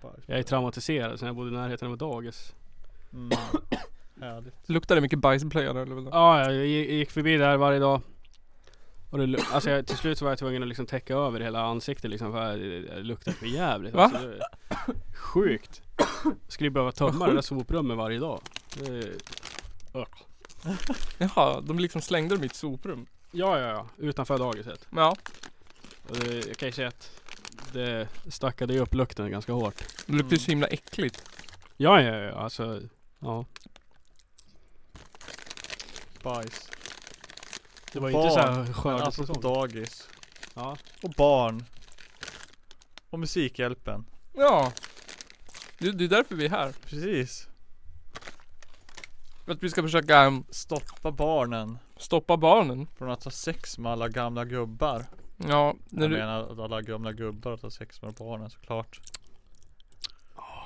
B: Bara,
C: Jag är traumatiserad sen jag bodde i närheten av ett dagis.
B: Mm. Härligt.
A: Luktar det mycket bajsblöja där eller? vad?
C: Ja, jag gi- gick förbi där varje dag. Och det, lu- alltså jag, till slut så var jag tvungen att liksom täcka över hela ansiktet liksom för det det luktade för jävligt.
A: Va?
C: Alltså, det, sjukt. Skulle ju behöva tömma det där soprummet varje dag. Det-
A: Jaha, de liksom slängde dem i ett soprum.
C: Ja, ja, ja. Utanför dagiset.
A: Ja.
C: Och det, jag kan ju säga att det stackade ju upp lukten ganska hårt.
A: Det luktar ju så himla äckligt.
C: Ja, ja, ja. Alltså, ja.
B: Bajs.
C: Det var ju
B: Barn.
C: inte så här
B: Men alltså på
C: skördesäsong.
B: dagis.
C: Ja.
B: Och barn. Och Musikhjälpen.
A: Ja. Det, det är därför vi är här.
B: Precis.
A: För att vi ska försöka um,
B: Stoppa barnen
A: stoppa barnen.
B: från att ha sex med alla gamla gubbar.
A: Ja, när
B: Jag
A: du,
B: menar att alla gamla gubbar att ha sex med barnen såklart.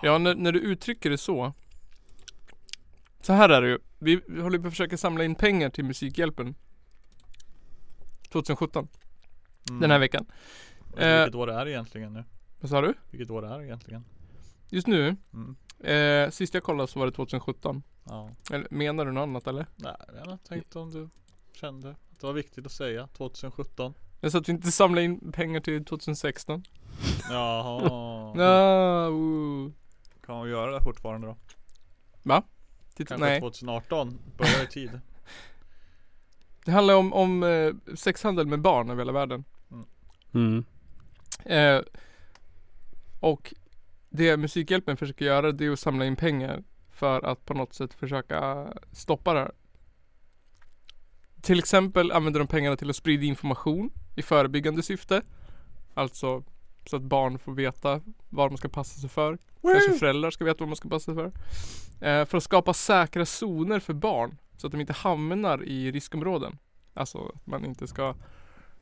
A: ja, när, när du uttrycker det så. Så här är det ju. Vi, vi håller på att försöka samla in pengar till Musikhjälpen. 2017.
B: Mm.
A: Den här veckan. Eh.
B: Jag vet inte Vilket år det är egentligen nu?
A: Vad sa du?
B: Vilket år det är egentligen?
A: Just nu,
B: Mm.
A: eh, sist jag kollade så var det 2017.
B: Ja.
A: Eller menar du något annat eller?
B: Nej, jag tänkte om du kände att det var viktigt att säga 2017.
A: Jag sa att vi inte samlar in pengar till 2016.
B: Jaha.
A: Ah, ooh.
B: Kan vi göra det fortfarande då?
A: Titta,
B: Kanske
A: nej.
B: 2018 börjar i tid.
A: Det handlar om, om eh, sexhandel med barn över hela världen.
C: Mm.
A: Eh, och det Musikhjälpen försöker göra det är att samla in pengar för att på något sätt försöka stoppa det här. Till exempel använder de pengarna till att sprida information i förebyggande syfte. Alltså så att barn får veta vad man ska passa sig för. Kanske föräldrar ska veta vad man ska passa sig för. Eh, för att skapa säkra zoner för barn så att de inte hamnar i riskområden. Alltså att man inte ska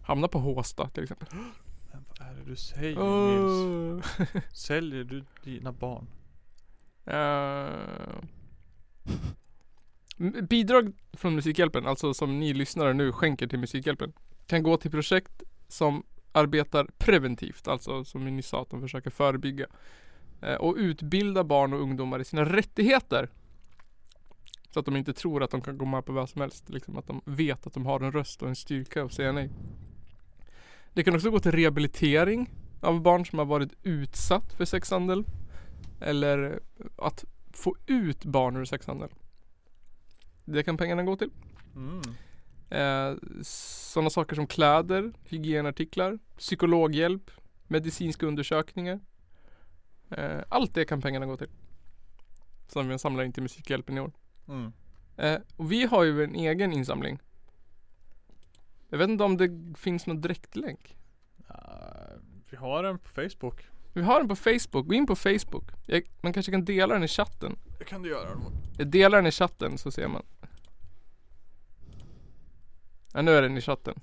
A: hamna på Håsta till exempel.
B: Men vad är det du säger Nils?
A: Åh.
B: Säljer du dina barn?
A: Eh, m- Bidrag från Musikhjälpen, alltså som ni lyssnare nu skänker till Musikhjälpen, kan gå till projekt som arbetar preventivt, alltså som ni sa att de försöker förebygga. eh, Och utbilda barn och ungdomar i sina rättigheter. Så att de inte tror att de kan gå med på vad som helst. Liksom att de vet att de har en röst och en styrka att säga nej. Det kan också gå till rehabilitering av barn som har varit utsatt för sexhandel. Eller att få ut barn ur sexhandel. Det kan pengarna gå till.
B: Mm.
A: Eh, Sådana saker som kläder, hygienartiklar, psykologhjälp, medicinska undersökningar. Eh, allt det kan pengarna gå till. Som vi samlar in till Musikhjälpen i år.
B: Mm.
A: Eh, och vi har ju en egen insamling. Jag vet inte om det finns någon direktlänk.
B: Ja, vi har en på Facebook.
A: Vi har den på Facebook. Gå in på Facebook. Jag, man kanske kan dela den i chatten.
B: Det kan du göra.
A: Jag delar den i chatten så ser man. Ja nu är den i chatten.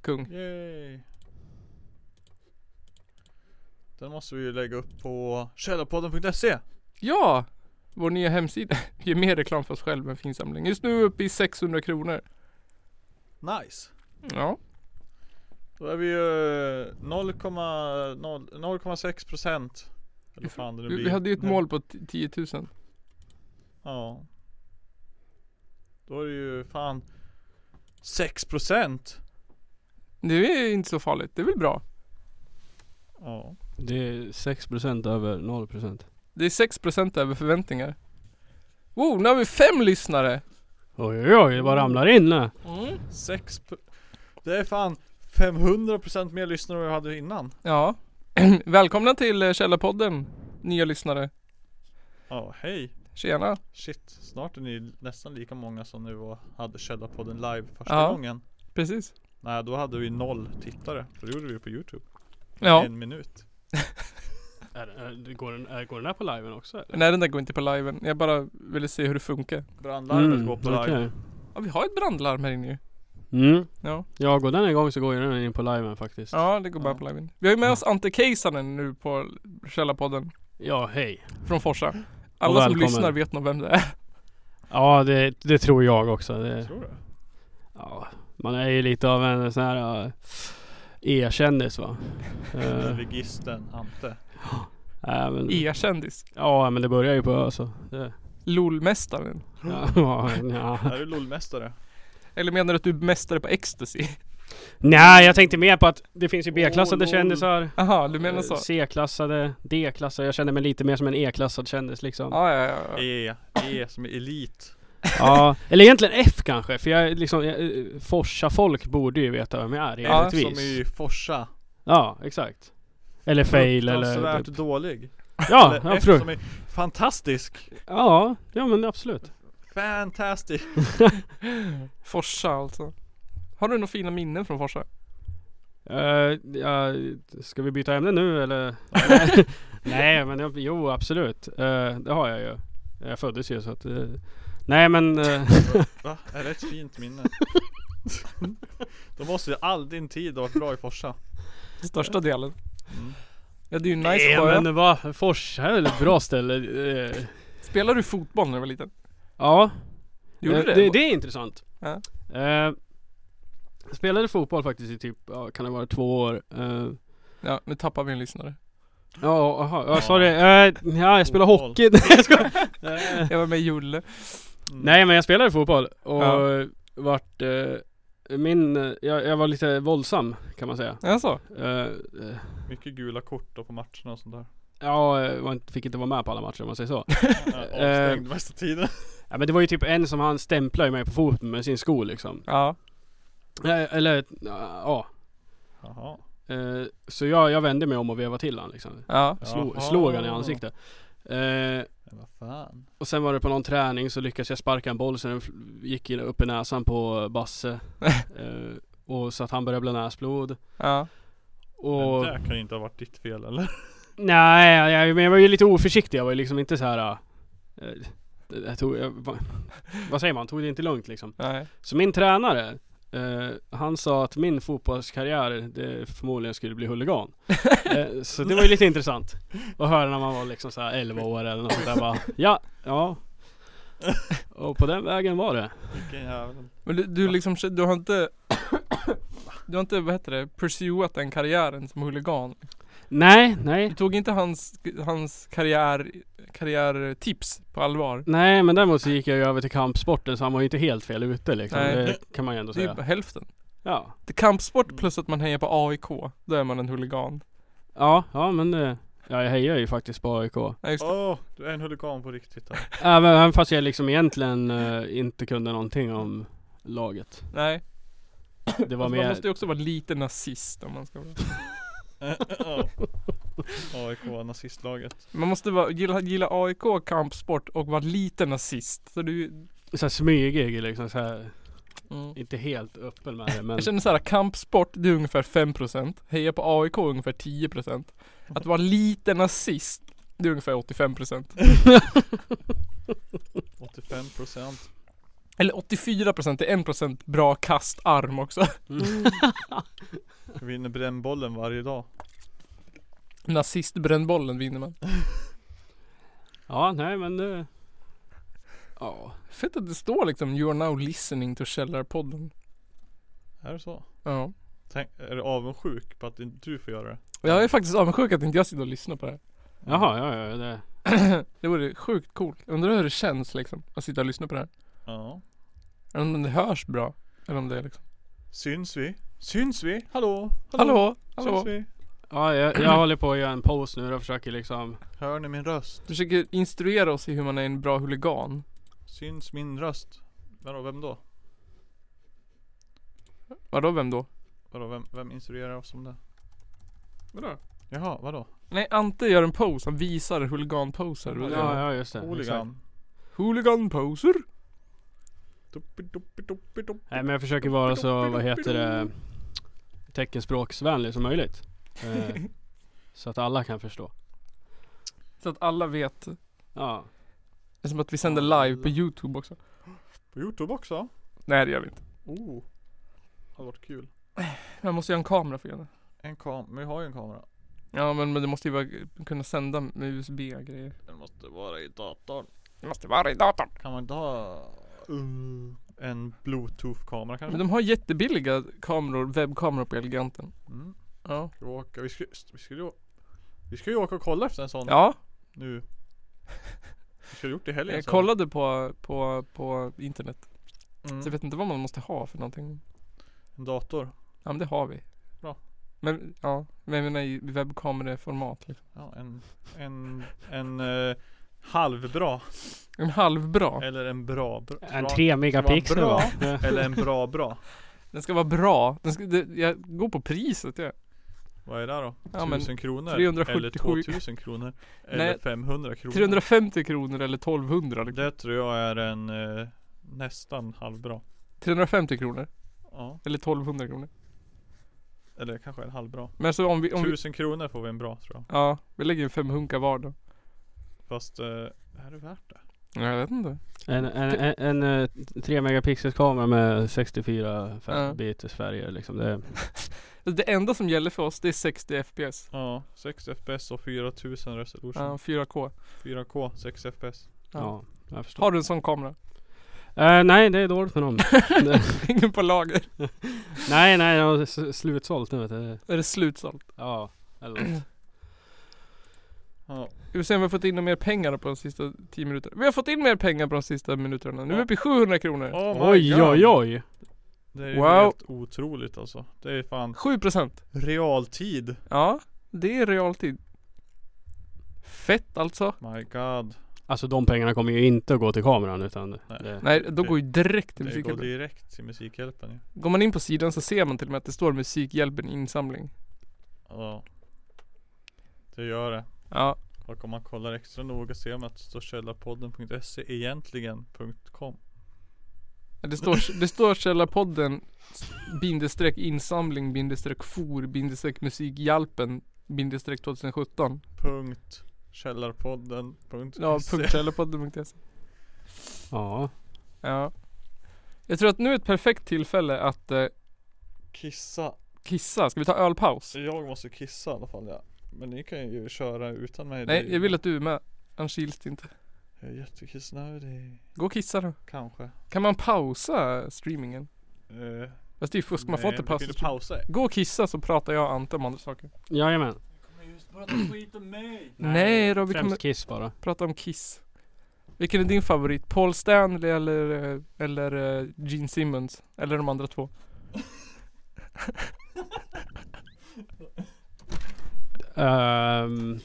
A: Kung.
B: Yay. Den måste vi ju lägga upp på källarpodden.se.
A: Ja! Vår nya hemsida. Ge mer reklam för oss själva än finsamling. Just nu är vi uppe i 600 kronor.
B: Nice.
A: Ja.
B: Då är vi ju eh, 0,0 0,6 procent. Eller vad fan det nu
A: Vi,
B: blir.
A: vi hade ju ett mål på t- 10 000.
B: Ja. Då är det ju fan 6 procent.
A: Det är inte så farligt. Det är väl bra.
B: Ja.
C: Det är 6% över 0%.
A: Det är 6% över förväntningar. Wow, nu har vi fem lyssnare!
C: Oj oj oj, det bara ramlar in nu.
B: Sex pro- Det är fan 500% mer lyssnare än vad vi hade innan.
A: Ja. Välkomna till eh, Källarpodden, nya lyssnare.
B: Ja, hej.
A: Tjena!
B: Shit, snart är ni nästan lika många som nu var, hade Källarpodden live första
A: Ja.
B: gången.
A: Precis.
B: Nej, då hade vi noll tittare. För det gjorde vi på Youtube.
A: Ja,
B: En minut.
C: Är, är, det- går, den, är, går den här på liven också eller?
A: nej den där går inte på liven. Jag bara ville se hur det funkar.
B: Brandlarmet går på live.
C: Mm, okej.
A: Ja, vi har ett brandlarm här inne ju.
C: Mm.
A: Ja,
C: Ja, går den igång så går ju den in på liven faktiskt.
A: ja det går bara
B: Ja.
A: på liven. Vi har ju med
C: Ja.
A: oss Ante Keisanen nu på Källarpodden
C: Ja, hej.
A: från Forsa.
C: Och
A: Alla som
C: välkommen.
A: lyssnar vet nog vem det är.
C: Ja, det, det tror jag också. Det,
B: Tror du?
C: ja, man är ju lite av en sån här äh, e-kändis va? Eh,
B: Vigisten Ante.
C: äh, men,
A: E-kändis.
C: ja, men det börjar ju på Ö så. Det,
A: LOL-mästaren.
C: ja, ja.
B: Är du LOL-mästare?
A: Eller menar du att du är mästare på ecstasy?
C: Nej, jag tänkte mer på att det finns ju B-klassade
B: Åh, lol.
C: kändisar.
A: Aha, du menar så?
C: eh, C-klassade, D-klassade. Jag känner mig lite mer som en E-klassad kändis liksom.
A: Ja, ja, ja, ja.
B: E, E som är elit.
C: Ja, eller egentligen F kanske, för jag är liksom, jag, eh, Forsa folk borde ju veta vem jag är
A: Ja,
B: Som
C: egentligen. Ja,
B: är i Forsa.
C: exakt. Eller fail eller... typ.
B: Fruktansvärt dålig.
C: Ja,
B: Eller
C: ja,
B: F
C: fru-
B: som är fantastisk.
C: ja, ja men absolut.
B: Fantastic.
A: Forsa alltså. Har du några fina minnen från Forsa?
C: Eh, ja, ska vi byta ämne nu eller? Nej men jag, jo absolut, Eh, det har jag ju. Jag föddes ju så att... eh, nej men... eh,
B: Va? Är det ett fint minne? Då måste ju all din tid ha varit bra i Forsa.
A: Största delen.
B: Mm.
A: Ja, det är ju en nice
C: Nej
A: sjö.
C: men vad, Forsa är väl ett bra ställe? Eh,
A: Spelade du fotboll när du var liten?
C: ja.
A: Gjorde
C: Eh,
A: du det?
C: det? är intressant.
A: Ja.
C: Eh, jag spelade fotboll faktiskt i typ, ja, kan det vara två år? Eh,
A: Ja, nu tappar vi en lyssnare.
C: ja, aha, ja
B: Ja.
C: sorry. Eh, ja, jag spelade
B: Fotboll.
C: hockey. Nej, jag skojar. Eh,
A: Jag var med i Julle.
B: Mm.
C: Nej men jag spelade fotboll och
A: Ja.
C: vart eh, min, eh, jag, jag var lite våldsam kan man säga.
A: Jaså?
C: Eh, eh,
B: Mycket gula kort då på matcherna och sånt där.
C: ja, jag var inte- fick inte vara med på alla matcher om man säger så.
B: Äh, Avstängd mesta tiden.
C: ja, men det var ju typ en som han stämplade mig på foten med sin sko liksom.
A: Ja.
C: Eh, eller, ja.
B: Jaha.
C: Eh, så jag, jag vände mig om och vevade till han liksom.
A: Ja.
C: Slå,
B: Jaha.
C: slog han i ansiktet. Eh,
B: Men vad fan.
C: och sen var det på någon träning så lyckades jag sparka en boll så den fl- gick in upp i näsan på Basse. eh, och så att han började blöda näsblod.
A: Ja.
C: Och...
B: Det där kan ju inte ha varit ditt fel eller?
C: Nej, jag, men jag var ju lite oförsiktig. Jag var ju liksom inte så här. eh, jag tog, jag, va, vad säger man? Tog det inte lugnt liksom.
A: Nej.
C: Så min tränare, eh, han sa att min fotbollskarriär det förmodligen skulle bli huligan. eh, så det var ju lite intressant att höra när man var liksom så här 11 år eller något sånt där bara, ja, ja. Och på den vägen var det.
B: Vilken jävel.
A: Men du, du liksom, du har inte Du har inte, vad heter det, pursuat den karriären som huligan?
C: Nej,
A: Du
C: nej.
A: tog inte hans, hans karriär, karriärtips på allvar?
C: Nej men däremot så gick jag ju över till kampsporten så han var ju inte helt fel ute liksom.
A: Nej.
C: Det kan man ju ändå
A: Det är ju
C: säga.
A: bara hälften.
C: Ja.
A: Det är kampsport plus att man hejar på AIK, då är man en huligan.
C: Ja, ja men det, ja, jag hejar ju faktiskt på AIK.
A: Ja, just det.
B: Åh, du är en huligan på riktigt här.
C: Även, även fast jag liksom egentligen eh, inte kunde någonting om laget.
A: Nej.
C: Det var
A: Alltså,
C: mer...
A: man måste ju också vara lite nazist om man ska vara
B: Ja. AIK, nazistlaget.
A: Man måste vara, gilla, gilla AIK, kampsport och vara lite nazist. Så du,
C: så här smygig liksom så här,
A: mm.
C: inte helt öppen med det men
A: Jag känner såhär, kampsport det är ungefär 5% Heja på AIK ungefär 10% Att vara lite nazist Det är ungefär 85%
B: 85 procent.
A: Eller 84% det är 1% bra kastarm också
C: Mm.
B: Vinner brännbollen varje dag.
A: Nazistbrännbollen vinner man
C: Ja, nej men det... Ja.
A: Fett att det står liksom You're now listening to Källarpodden
B: Är det så?
A: Ja
B: Tänk, är du avundsjuk på att inte du får göra det?
A: Och Jag är faktiskt avundsjuk att inte jag sitter och lyssnar på det här
C: Jaha, ja, ja, det...
A: Det vore sjukt coolt Undrar hur det känns liksom att sitta och lyssna på det här
B: Ja.
A: Eller om det hörs bra Eller om det är liksom
B: Syns vi? Syns vi? Hallå?
A: Hallå?
B: Syns
A: Hallå?
B: vi?
C: Ja, jag, jag håller på att göra en post nu och försöker liksom...
B: Hör ni min röst?
A: Försöker instruera oss i hur man är en bra huligan
B: Syns min röst? Vadå, vem då?
A: Vadå vem då?
B: Vadå, vem, vem instruerar oss om det?
A: Vadå?
B: Jaha, vadå?
A: Nej Ante gör en pose, han visar huliganposer
C: Ja, ja just det.
B: Oligan.
A: Hooligan poser.
C: Nej men jag försöker vara så, vad heter det, teckenspråksvänlig som möjligt. Eh, så att alla kan förstå.
A: Så att alla vet. Det
C: Ja.
A: är som att vi sänder live på youtube också.
B: På Youtube också?
A: Nej det gör vi inte.
B: Oh. Hade varit kul.
A: Man måste ju ha en kamera för att göra det.
B: En kam, men vi har ju en kamera.
A: Ja men, men det måste ju vara, kunna sända med USB grejer.
B: Den måste vara i datorn.
A: Det måste vara i datorn.
B: Kan man inte ha uh, en bluetooth-kamera kanske?
A: Men de har jättebilliga kameror, webbkameror på Eleganten.
B: Mm.
A: Ja.
B: Ska vi, åka, vi, ska, vi, ska ju, vi ska ju åka och kolla efter en sån
A: Ja,
B: nu. Vi skulle ha gjort det i helgen.
A: jag
B: så.
A: kollade på, på, på internet. Så jag
B: Mm.
A: vet inte vad man måste ha för någonting.
B: En dator.
A: Ja men det har vi.
B: Bra.
A: Men ja, men jag menar i webbkamereformat liksom.
B: Ja, en en, en eh, halvbra.
A: En halvbra.
B: Eller en bra. bra
C: En
B: bra-
C: 3 megapixel
B: bra.
C: va? Ja.
B: Eller en bra bra.
A: Den ska vara bra. Den ska, det, jag går på priset jag.
B: Vad är det då?
A: Ja, men
B: 1000 kronor?
A: 377.
B: Eller 2000 kronor? Eller
A: Nej,
B: 500 kronor?
A: 350 kronor eller 1200 liksom.
B: Det tror jag är en eh, nästan halvbra.
A: 350 kronor.
B: Ja,
A: Eller 1200 kronor.
B: eller kanske en halvbra.
A: Men alltså om vi, om vi
B: 1000 kronor får vi en bra tror jag.
A: Ja, vi lägger in fem hunkar var då.
B: Fast eh, är det värt det?
A: Jag vet inte.
C: En, en, en, en eh, 3 megapixels kamera med 64
A: Ja.
C: fär- bitars färger liksom. Det,
A: Alltså, Det enda som gäller för oss det är 60 FPS.
B: Ja, 6 FPS och 4000 resolution.
A: Ja, 4K.
B: 4K, 6 FPS.
C: ja, jag förstår.
A: Har du en sån kamera?
C: Eh, nej det är dåligt med dem. Det-
A: Ingen på lager.
C: nej nej, jag har s- slutsålt nu vet du.
A: Är det slutsålt?
C: Ja, eller något.
B: Ja,
A: Vi får se om vi har fått in några mer pengar på de sista 10 minuterna. Vi har fått in mer pengar på de sista minuterna. Nu är vi uppe i 700 kronor.
B: Oh my
C: Oj
B: God.
C: oj oj.
B: Det är
A: Wow.
B: helt otroligt alltså. Det är fan
A: 7%.
B: realtid.
A: Ja, det är realtid. Fett alltså.
B: My god.
C: Alltså de pengarna kommer ju inte att gå till kameran utan
B: Nej.
C: det,
A: Nej, då
B: Det-
A: går ju direkt till
B: Det går
A: Musikhjälpen.
B: direkt till Musikhjälpen ju.
A: Går man in på sidan så ser man till och med att det står Musikhjälpen insamling.
B: Ja. Det gör det.
A: Ja,
B: Och om man kollar extra noga ser man att det står källarpodden.se egentligen.com
A: det står, det står källarpodden bindestreck insamling bindestreck for bindestreck musikhjälpen bindestreck 2017.
B: Punkt Källarpodden.se
A: Ja, punkt källarpodden.se.
C: ja.
A: Ja. Jag tror att nu är ett perfekt tillfälle att eh,
B: Kissa
A: kissa. Ska vi ta ölpaus?
B: Så jag måste kissa i alla fall ja. Men ni kan ju köra utan mig Det är
A: Nej,
B: ju-
A: jag vill att du är med. Annars gills det inte.
B: Jag är jättekissnödig
A: Gå och kissa då.
B: Kanske
A: Kan man pausa streamingen?
B: uh,
A: Fast det är fusk, man får inte pausa.
B: pausa
A: stream-
B: pausa
A: Gå och kissa så pratar jag och Ante om andra saker.
C: Jajamän.
B: Kommer just prata skit om mig
A: Nej då, vi
C: Främst
A: kommer-
C: Kiss bara.
A: Prata om Kiss. Vilken är din favorit? Paul Stanley eller, eh, eller eh, Gene Simmons? Eller de andra två?
C: Ehm,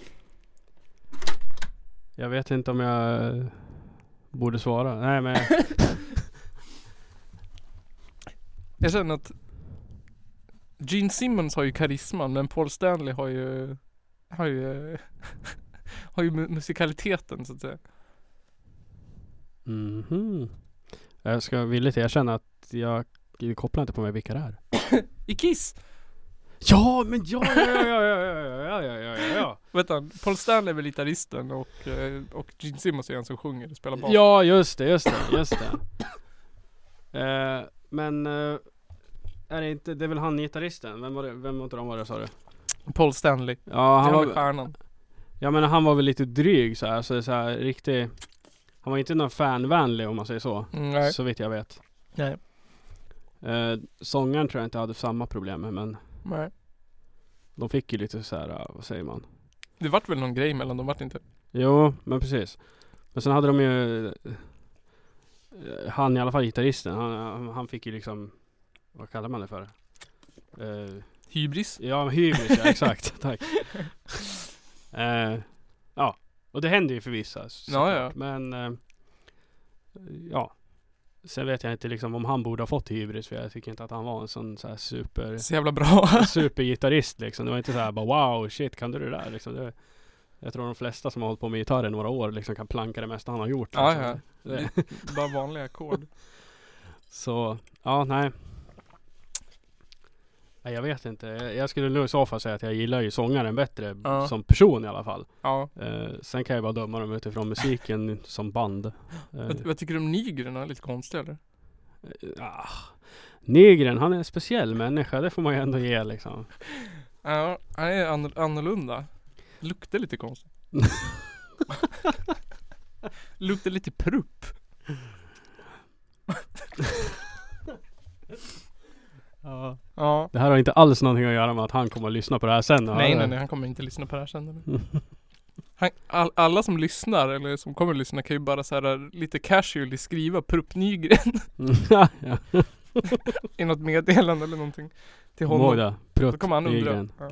C: jag vet inte om jag borde svara. Nej men
A: Jag känner att Gene Simmons har ju karisman men Paul Stanley har ju har ju eh, har ju mu- musikaliteten så att säga.
C: Mhm. Jag ska villigt erkänna att jag kopplar inte på mig vilka det är.
A: I Kiss!
C: Ja men ja ja ja ja ja ja ja ja ja
A: Vet han, Paul Stanley är väl gitarristen och, eh, och Gene Simmons är han som sjunger och spelar
C: ja.
A: bas.
C: Ja just det, just det, just det. Eh, men eh, är det inte, det är väl han gitarristen? Vem var det, vem var inte de var det sa du?
A: Paul Stanley.
C: Ja han
A: Han är
C: var,
A: stjärnan.
C: ja men han var väl lite dryg så här, så, så här riktig Han var inte någon fanvänlig om man säger så.
A: Mm, nej.
C: Så vitt jag vet.
A: nej.
C: Eh, sångaren tror jag inte hade samma problem med men
A: Nej.
C: de fick ju lite så här, eh, vad säger man?
A: Det vart väl någon grej mellan dem, vart det inte?
C: Jo, men precis. Men sen hade de ju eh, han i alla fall gitarristen, han, han- han fick ju liksom, vad kallar man det för? Eh,
A: Hybris?
C: ja, men hybris, ja, exakt. Tack. Eh, ja, och det händer ju för vissa. så-
A: Ja, ja.
C: Men eh, ja. Sen vet jag inte liksom om han borde ha fått hybris för jag tycker inte att han var en sån så här super
A: Så jävla bra.
C: supergitarrist liksom. Det var inte så här bara wow shit kan du det där liksom. Det, Jag tror de flesta som har hållit på med gitarr i några år liksom kan planka det mesta han har gjort.
A: Ja,
C: liksom.
A: ja.
C: Det-
A: Bara vanliga ackord.
C: Så, ja nej. Nej, jag vet inte. Jag jag skulle nog i så fall säga att jag gillar ju sångaren bättre b-
A: Ja.
C: som person i alla fall.
A: Ja.
C: Eh, sen kan jag bara döma dem utifrån musiken som band. Eh,
A: Vad, vad tycker du om Nygren? Han är lite konstig eller?
C: ah. Nygren, han är en speciell människa. Det får man ju ändå ge liksom.
A: Ja, han är an- annorlunda. Luktar lite konstigt. Luktar lite prupp. Ja.
C: Det här har inte alls någonting att göra med att han kommer att lyssna på det här sen. och
A: Nej,
C: höra
A: nej,
C: det.
A: nej, han kommer inte lyssna på det här sen. eller? Han, all, alla som lyssnar eller som kommer att lyssna kan ju bara så här eh, lite casually skriva Prupp Nygren
C: Mm. Ja, ja.
A: i något meddelande eller någonting till
C: Kom ihåg
A: honom.
C: det.
A: Då
C: Prutt
A: kommer han undra.
C: Nygren.
A: Ja.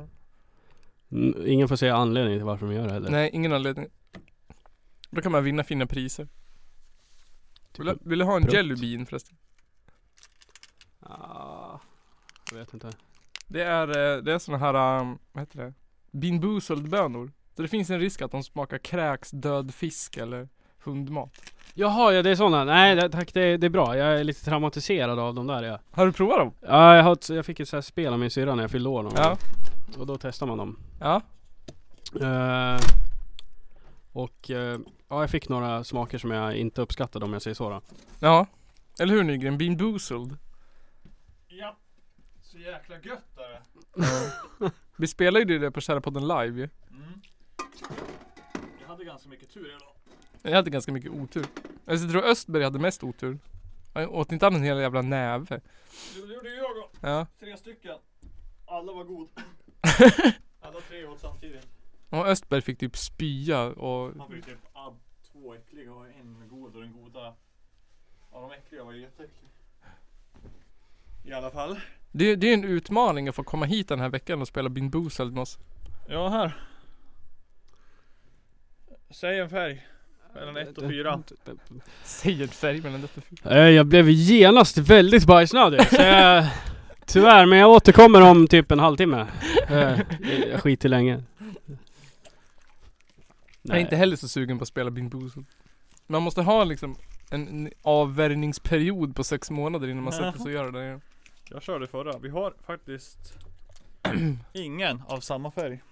C: N- Ingen får säga anledningen till varför de gör det heller.
A: Nej, ingen anledning. Då kan man vinna fina priser. Vill,
C: Typ-
A: du- vill du ha en
C: Prutt.
A: Jelly Bean förresten?
C: Ah, jag vet inte.
A: Det är, eh, det är såna här, um, vad heter det? Bean Boozled-bönor. Så det finns en risk att de smakar kräks, död fisk eller hundmat.
C: Jaha, ja det är sådana. Nej det, tack, det, det är bra. Jag är lite traumatiserad av de där ja.
A: Har du provat dem?
C: ja jag, har, ett- jag fick ett sånt här spel av min syrra när jag fyllde år någon
A: Ja.
C: gång. Och då testar man dem.
A: Ja.
C: Eh, och eh, ja, jag fick några smaker som jag inte uppskattade om jag säger så då.
A: Ja. Eller hur Nygren? Bean Boozled.
B: Ja. Så jäkla gött är det.
A: Vi spelar ju det på Kärrapodden live ju.
B: Mm. Jag hade ganska mycket tur idag.
A: Jag hade ganska mycket otur. Alltså, Jag tror Östberg hade mest otur. Han åt inte han en hel jävla näve?
B: Det gjorde jag då.
A: Ja.
B: Tre stycken. Alla var god. Alla tre åt samtidigt.
A: Och Östberg fick typ spya och
B: Man fick typ ab- två äckliga och en god och den goda. Ja de äckliga var ju jätteäckliga. I alla fall.
A: Det, det är en utmaning att få komma hit den här veckan och spela Bin Boozled med oss.
B: Ja här. Säg en färg. Mellan ett och fyra.
A: Säg en färg mellan detta
C: Eh, jag blev genast väldigt bajsnödig. Så jag, tyvärr, men jag återkommer om typ en halvtimme. Eh, jag skiter länge.
A: Jag är inte heller så sugen på att spela Bin Boozled. Man måste ha liksom en, en avvärjningsperiod på sex månader innan man sätter sig och gör det där igen.
B: Jag körde förra. Vi har faktiskt ingen av samma färg.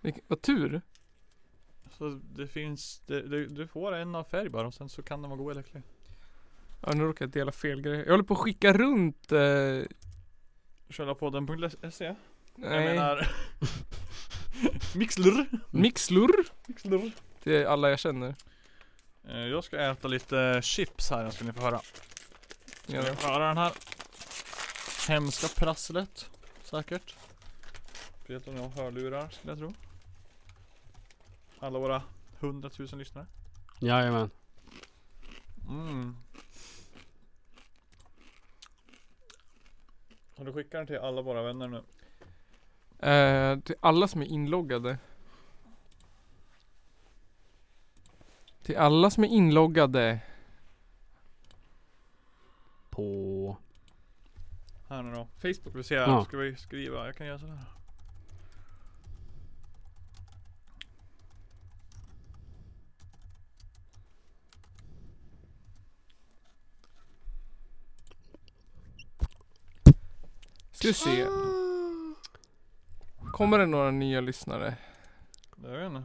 A: Vilken- Vad tur.
B: Så det finns, det, det, du får en av färg bara och sen så kan den vara god eller äcklig.
A: Ja, nu råkar jag dela fel grejer. Jag håller på att skicka runt... Eh, nej.
B: Källarpodden.se E. Jag menar Mixler.
A: Mixlur
B: Mixler.
A: till alla jag känner.
B: Eh, Jag ska äta lite chips här ska ni få höra. Ska
A: Ja.
B: ni få höra den här hemska prasslet. Säkert. Vet om jag har hörlurar skulle jag tro. Alla våra hundratusen lyssnare.
C: Jajamän.
B: Mm. Har du skickat den till alla våra vänner nu?
A: Eh, till alla som är inloggade. Till alla som är inloggade.
C: På...
B: Här nu då. Facebook vill se.
C: Ja.
B: Ska vi skriva? Jag kan göra sådär.
A: Ska vi se. Kommer det några nya lyssnare?
B: Jag vet inte.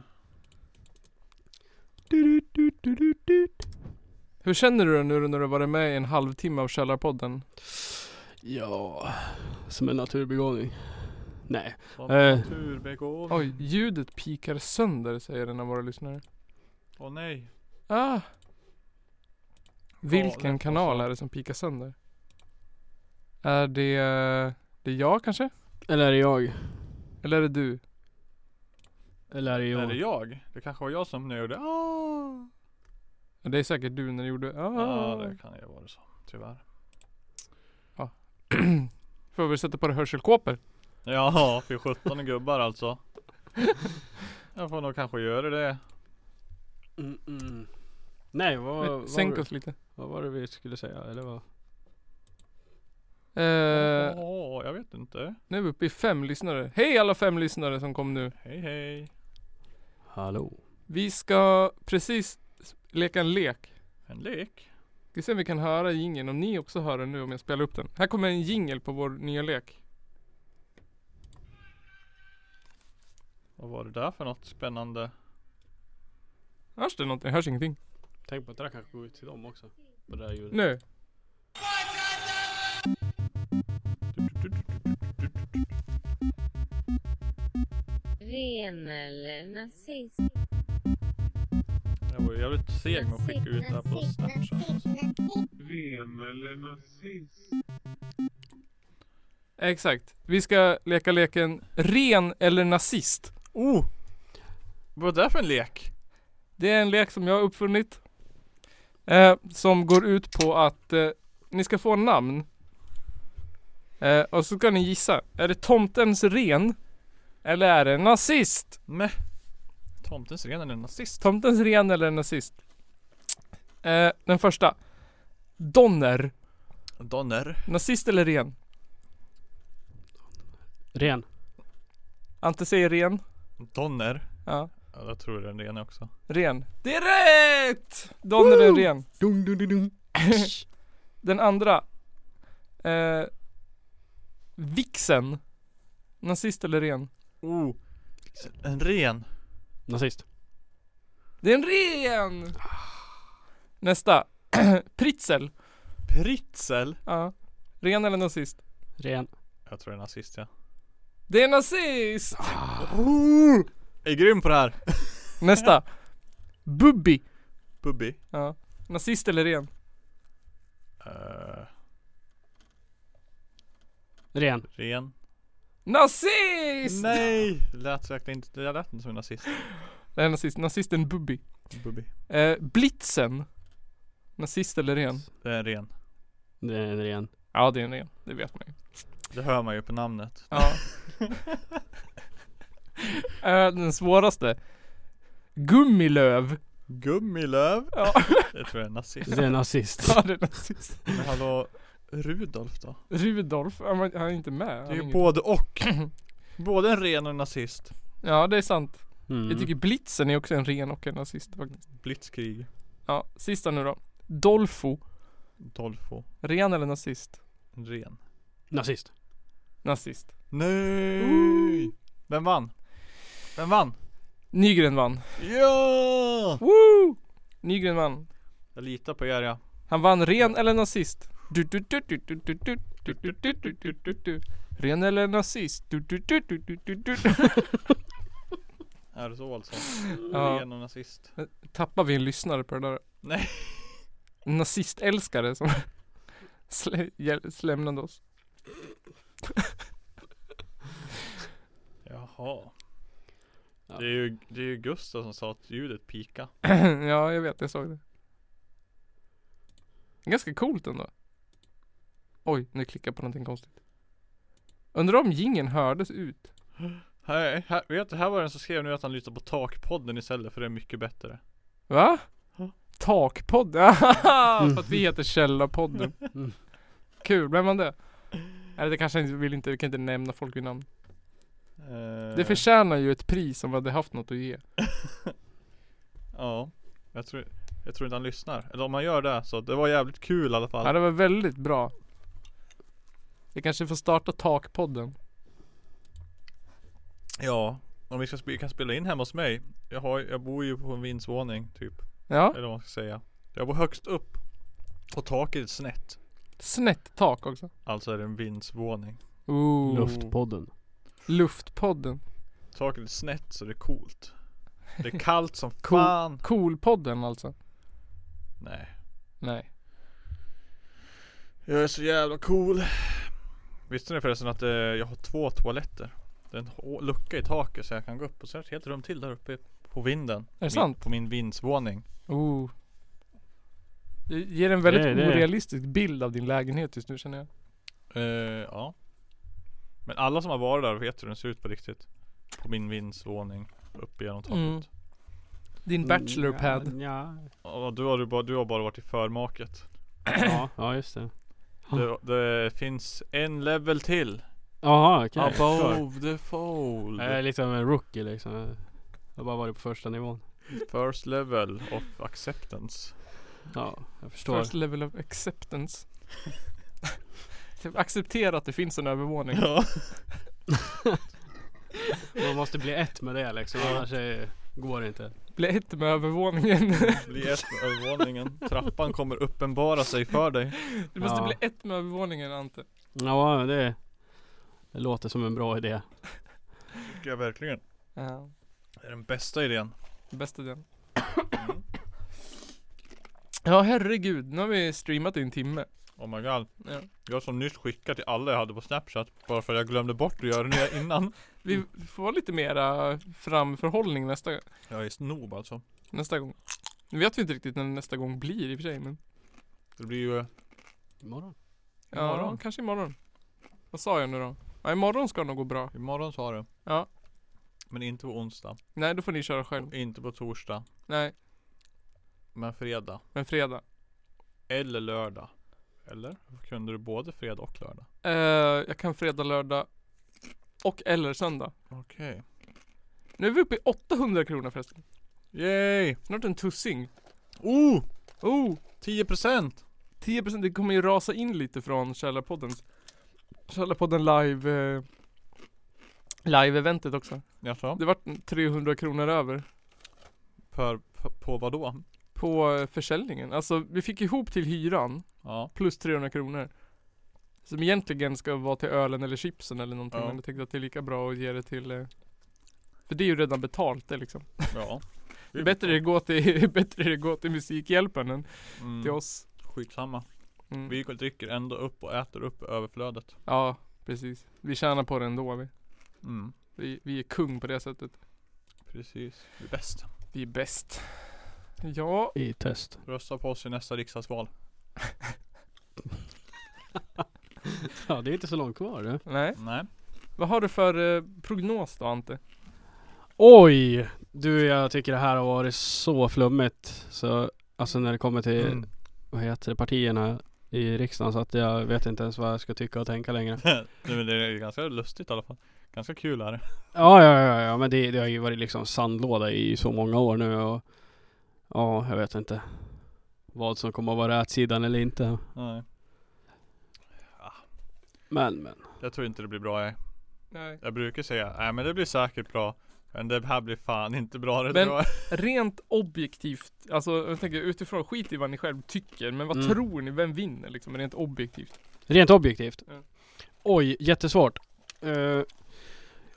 A: Hur känner du dig nu när du har varit med i en halvtimme av Källarpodden?
C: Ja, som en naturbegåvning. Nej.
B: Som
C: Eh.
B: naturbegåvning.
A: Oj, ljudet pikar sönder säger en av våra lyssnare.
B: Åh nej.
A: Ah! Vilken
B: Galet,
A: kanal
B: alltså.
A: är det som pikar sönder? Är det, det är jag kanske?
C: Eller är det jag?
A: Eller är det du?
C: Eller är det jag?
B: Är det jag? Det kanske var jag som nu gjorde ah.
A: Det är säkert du när du gjorde
B: Ja
A: ah.
B: det kan ju vara så. Tyvärr.
A: Får vi sätta på dig hörselkåpor?
B: Ja för 17 gubbar alltså. Jag får nog kanske göra det.
C: Mm, mm. Nej, vad, vad,
A: Sänk
C: var,
A: oss lite.
C: vad var det vi skulle säga? Eller vad?
A: Eh,
B: Åh, jag vet inte.
A: nu är vi uppe i fem lyssnare. Hej alla fem lyssnare som kom nu.
B: Hej hej.
C: Hallå?
A: Vi ska precis leka en lek.
B: En lek?
A: Vi ska se om vi kan höra jingeln, om ni också hör den nu om jag spelar upp den. Här kommer en jingel på vår nya lek.
B: Vad var det där för något spännande?
A: Hörs det någonting? Hörs ingenting.
C: Tänk på att det där kanske går ut till dem också. På det där ljudet.
A: Nu.
D: Ren eller nazist?
B: Jag var ju jävligt seg med att skicka ut det här på Snapchat.
A: Exakt. Vi ska leka leken ren eller nazist.
B: Oh! Vad var det där för en lek?
A: Det är en lek som jag har uppfunnit. Eh, som går ut på att eh, ni ska få namn. Eh, och så ska ni gissa. Är det tomtens ren? Eller är det nazist?
B: Mäh! Tomtens ren är en nazist.
A: Tomtens ren eller nazist? Eh, den första. Donner.
B: Donner.
A: Nazist eller ren?
C: Ren.
A: Ante säger ren.
B: Donner?
A: Ja.
B: Ja, jag tror den rena också.
A: Ren. Det är rätt! Donner är ren.
C: Dung, dung, dung, dung.
A: Den andra. Eh, vixen. Nazist eller ren?
B: Oh! En ren.
C: Nazist.
A: Det är en ren! Nästa. Pritzel.
B: Pritzel?
A: Ja. Ren eller nazist?
C: Ren.
B: Jag tror det är nazist ja.
A: Det är nazist!
B: Oh! Jag är grym på det här!
A: Nästa. Bubbi.
B: Bubbi.
A: Ja. Nazist eller ren?
B: Eh,
C: Ren.
B: ren.
A: Nazist!
B: Nej! Det lät verkligen inte, det lät inte som en nazist.
A: Det är nazist. Nazisten Bubbi.
B: Bubbi.
A: Eh, Blitzen. Nazist eller ren?
B: Det är en ren.
C: Det är en ren.
A: Ja det är en ren. Det vet man ju.
B: Det hör man ju på namnet.
A: Ja. Eh, Den svåraste. Gummilöv.
B: Gummilöv.
A: Ja,
B: Det tror jag är en nazist.
C: Det är en nazist.
A: ja det är nazist.
B: Men hallå, Rudolf då?
A: Rudolf, han var- han är inte med.
B: Det
A: Han
B: är
A: är
B: ju
A: ingen-
B: både och. Både en ren och en nazist.
A: Ja det är sant.
C: Mm.
A: Jag tycker Blitzen är också en ren och en nazist faktiskt.
B: Blitzkrig.
A: Ja, sista nu då. Dolfo.
B: Dolfo.
A: Ren eller nazist?
B: En ren.
C: Nazist.
A: Nazist.
B: Nej! Vem vann? Vem vann?
A: Nygren vann.
B: Ja!
A: Woo! Nygren vann.
B: Jag litar på er ja.
A: Han vann ren eller nazist. Du, du, du, du, du, du, du, du, du, du, du, du, du, du. Ren eller nazist? Du, du, du, du, du, du, du.
B: Är det så alltså?
A: Ja.
B: Ren och nazist.
A: Tappar vi en lyssnare på det där?
B: Nej.
A: En nazistälskare som slä, hjäl- lämnade oss.
B: Jaha.
C: Ja.
B: Det är ju, det är ju Gustav som sa att ljudet pika.
A: ja, jag vet. Jag såg det. Ganska coolt ändå. Oj, nu klickar jag på någonting konstigt. Undrar om gingen hördes ut.
B: Här, här, vet du, här var den som skrev nu att han lyssnar på takpodden istället för det är mycket bättre.
A: Va?
B: Ja. Mm.
A: Takpodden? För att vi heter Källarpodden.
C: Mm.
A: Kul, vem var det? Eller det kanske inte vill inte, vi kan inte nämna folk vid namn.
B: Eh,
A: Det förtjänar ju ett pris om vi hade haft något att ge.
B: Ja. Jag tror, jag tror inte han lyssnar. Eller om han gör det så det var jävligt kul i alla
A: Ja,
B: fall.
A: det var väldigt bra. Vi kanske får starta Takpodden.
B: Ja. Om vi ska sp- kan spela in hemma hos mig. Jag, har, jag bor ju på en vindsvåning typ.
A: Ja,
B: Eller vad man ska säga. Jag bor högst upp. Och taket är snett.
A: snett tak också.
B: Alltså är det en vindsvåning.
A: Ooh.
C: Luftpodden.
A: Luftpodden.
B: Taket är snett så det är coolt. Det är kallt som
A: Cool.
B: fan.
A: Coolpodden alltså?
B: Nej.
A: Nej.
B: Jag är så jävla cool. Visste ni förresten att eh, jag har två toaletter? Det är en hå- lucka i taket så jag kan gå upp och så är det ett helt rum till där uppe på vinden.
A: Är det sant?
B: På min vindsvåning.
A: Oh. Det ger en väldigt
C: Det är det.
A: orealistisk bild av din lägenhet just nu känner jag.
B: Eh, ja. Men alla som har varit där vet hur den ser ut på riktigt. På min vindsvåning. Upp genom taket.
A: Mm. Din bachelorpad.
C: Mm. Ja,
B: Ja, du, har, du, bara, du har bara varit i förmaket.
C: ja. ja, just det.
B: Det, det finns en level till.
C: Jaha, okej. Sure.
B: Above the fold.
C: Jag är lite av en rookie liksom. Jag har bara varit på första nivån.
B: First level of acceptance.
C: Ja, jag förstår.
A: First level of acceptance. Typ Acceptera att det finns en övervåning.
B: Ja.
C: Man måste bli ett med det liksom, annars är, går det inte.
A: Bli ett med övervåningen.
B: Bli ett med övervåningen. Trappan kommer uppenbara sig för dig.
A: Du måste
C: Ja.
A: bli ett med övervåningen Ante.
C: Ja, det, det låter som en bra idé.
B: Tycker jag verkligen.
A: Ja.
B: Det är den bästa idén.
A: Bästa idén.
B: Mm.
A: Ja herregud, nu har vi streamat i en timme.
B: Oh my god.
A: Ja.
B: Jag som nyss skickade till alla jag hade på snapchat Bara för att jag glömde bort att göra det innan
A: Vi får vara lite mera framförhållning nästa,
B: Jag är snob alltså
A: nästa gång. Nu vet vi inte riktigt när nästa gång blir i och för sig men.
B: Det blir ju eh,
C: Imorgon.
A: Ja,
B: Imorgon.
A: kanske imorgon. Vad sa jag nu då? Ja, imorgon ska det nog gå bra.
B: Imorgon sa du
A: Ja.
B: Men inte på onsdag
A: Nej, då får ni köra själv.
B: Inte på torsdag
A: Nej,
B: Men fredag
A: men fredag.
B: Eller lördag Eller? Kunde du både fredag och lördag?
A: Eh, jag kan fredag, lördag och eller söndag.
B: Okej
A: Nu är vi uppe i 800 kronor förresten.
B: Yay!
A: Snart en tussing.
B: Oh!
A: Oh!
B: 10%!
A: 10% det kommer ju rasa in lite från Källarpoddens Källarpodden live eh, Live-eventet också.
B: Jaså?
A: Det vart 300 kronor över
B: Per, på, på vad då?
A: på eh, försäljningen. Alltså vi fick ihop till hyran
B: Ja
A: plus 300 kronor. Som egentligen ska vara till ölen eller chipsen eller någonting.
B: Ja.
A: Men jag tänkte att det är lika bra att ge det till eh, För det är ju redan betalt det liksom.
B: Ja
A: Det är bättre det går till, bättre det går till Musikhjälpen än
B: mm,
A: till oss.
B: Skitsamma
A: Mm.
B: Vi dricker ändå upp och äter upp överflödet
A: Ja, precis. Vi tjänar på det ändå vi.
B: Mm
A: Vi, vi är kung på det sättet.
B: Precis Det är bäst
A: Vi är bäst. Ja,
C: I test.
B: Rösta på oss i nästa riksdagsval
C: Ja, det är inte så långt kvar du.
A: nej.
B: Nej
A: Vad har du för eh, prognos då Ante?
C: Oj! Du, jag tycker det här har varit så flummigt. Så, alltså när det kommer till,
B: Mm.
C: vad heter det, partierna i riksdagen så att jag vet inte ens vad jag ska tycka och tänka längre.
B: Nej, men det är ganska lustigt i alla fall. Ganska kul är det.
C: Ja, ja, ja, ja men det, det har ju varit liksom sandlåda i så många år nu och ja, jag vet inte vad som kommer att vara rätsidan eller inte.
B: Nej.
C: Men, men.
B: Jag tror inte det blir bra. Jag,
A: Nej.
B: jag brukar säga, nej men det blir säkert bra. Men det här blir fan inte bra det
A: Men-
B: tror jag.
A: Rent objektivt, alltså jag tänker utifrån, skit i vad ni själv tycker, men vad
C: Mm.
A: tror ni, vem vinner liksom rent objektivt?
C: Rent objektivt.
A: Mm.
C: Oj, jättesvårt. Eh,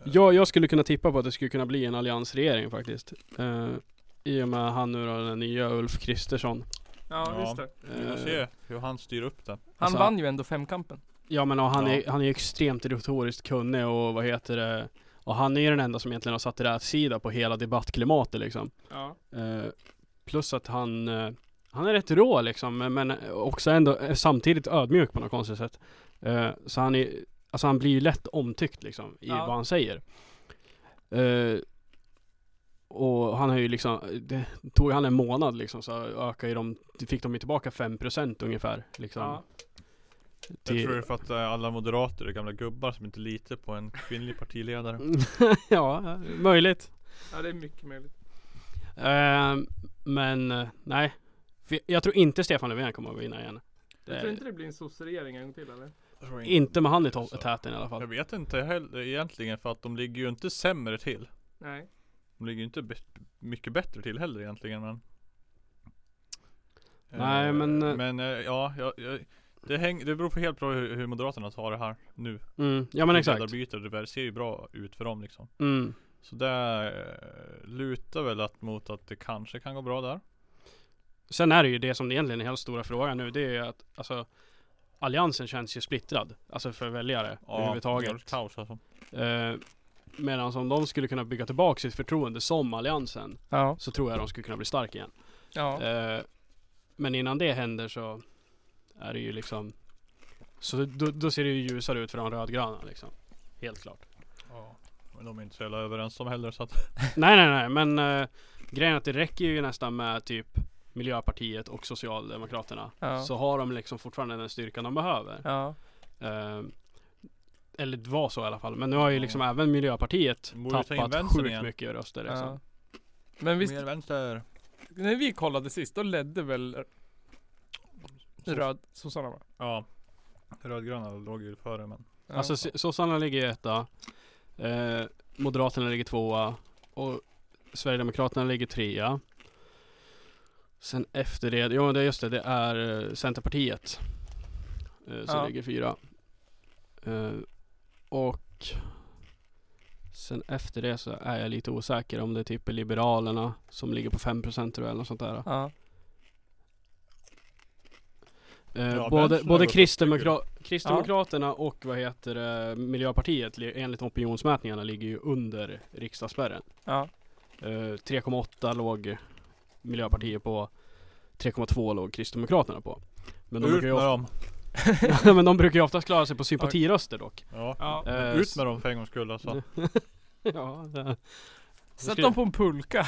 C: jag, jag skulle kunna tippa på att det skulle kunna bli en alliansregering faktiskt. Eh, I och med han nu då, den nya Ulf Kristersson.
A: Ja,
B: Ja.
A: just det.
B: Vi får
C: Eh,
B: se hur han styr upp det.
A: Han
C: Alltså-
A: vann ju ändå femkampen.
C: Ja men och han,
B: Ja.
C: Är, han är extremt retoriskt kunnig och vad heter det Och han är ju den enda som egentligen har satt rätsida på hela debattklimatet liksom
A: Ja.
C: eh, Plus att han eh, Han är rätt rå liksom men- men också ändå eh, samtidigt ödmjuk på något konstigt sätt eh, Så han är Alltså han blir ju lätt omtyckt liksom i
A: Ja.
C: vad han säger eh, Och han har ju liksom Det tog han en månad liksom så ökade ju de Fick de ju tillbaka 5% ungefär liksom
A: Ja.
B: Jag
C: till-
B: tror det är för att eh, alla moderater är gamla gubbar som inte litar på en kvinnlig partiledare.
C: ja, möjligt.
A: ja, det är mycket möjligt.
C: Ehm, men eh, nej. För Jag tror inte Stefan Löfven kommer att vinna igen. Det,
A: det blir en sosseregering en gång till eller?
B: Jag tror
C: inte med han i to-
B: Så.
C: täten i alla
B: Jag
C: fall.
B: vet inte heller egentligen för att de ligger ju inte sämre till.
A: Nej.
B: De ligger ju inte be- mycket bättre till heller egentligen men
C: Nej,
B: Eh,
C: men, eh,
B: Men eh, ja, jag, jag, det, häng, det beror på helt på hur, hur Moderaterna tar det här nu
C: Mm, ja men exakt.
B: Ledarbyte, det där ser ju bra ut för dem liksom
C: Mm.
B: Så det eh, lutar väl att, mot att det kanske kan gå bra där
C: Sen är det ju det som egentligen är hela stora frågan nu. Det är ju att alltså, Alliansen känns ju splittrad. Alltså för väljare
B: det är
C: överhuvudtaget.
B: kaos alltså
C: Eh, Medan om de skulle kunna bygga tillbaka sitt förtroende som Alliansen.
A: Ja.
C: Så tror jag de skulle kunna bli starka igen.
A: Ja.
C: Eh, Men innan det händer så är det ju liksom Så då, då ser det ju ljusare ut för de rödgröna liksom Helt klart
B: Ja Men de är inte så jävla överens om heller så att
A: Typ.
C: Nej nej nej men eh, Grejen är att det räcker ju nästan med typ Miljöpartiet och Socialdemokraterna
A: Ja.
C: Så har de liksom fortfarande den styrkan de behöver
A: Ja.
C: Eh, Eller det var så i alla fall Men nu har ju liksom även Miljöpartiet
B: De borde ta in
C: tappat
B: vänstern
C: sjukt
B: igen.
C: mycket röster liksom.
A: ja. Men visst,
E: Mer vänster.
A: när vi kollade sist, då ledde väl röd, sossarna va?
E: Ja. Rödgröna låg ju före men.
A: Ja.
C: Alltså so- sossarna ligger etta. Eh, Moderaterna ligger tvåa. Och Sverigedemokraterna ligger trea. Sen efter det, ja det är just det, det är eh, Centerpartiet. Eh, som
A: Ja.
C: ligger fyra. Eh, och sen efter det så är jag lite osäker om det typ är Liberalerna som ligger på 5% tror jag eller något sånt där.
A: ja.
C: Eh,
E: Ja,
C: både
E: Vänstern
C: både
E: har gått
C: Kristdemokra- Kristdemokraterna och vad heter det, Miljöpartiet li- enligt opinionsmätningarna ligger ju under riksdagsspärren.
A: ja.
C: Eh, 3,8 låg Miljöpartiet på, 3,2 låg Kristdemokraterna på. Men de,
E: Ut
C: brukar
E: med
C: ju ofta,
E: dem.
C: men de brukar ju oftast klara sig på sympatiröster dock.
E: Ja.
A: Ja.
C: Eh,
E: Ut med dem för en gångs skull alltså.
C: ja, det-
A: Sätt dem på en pulka.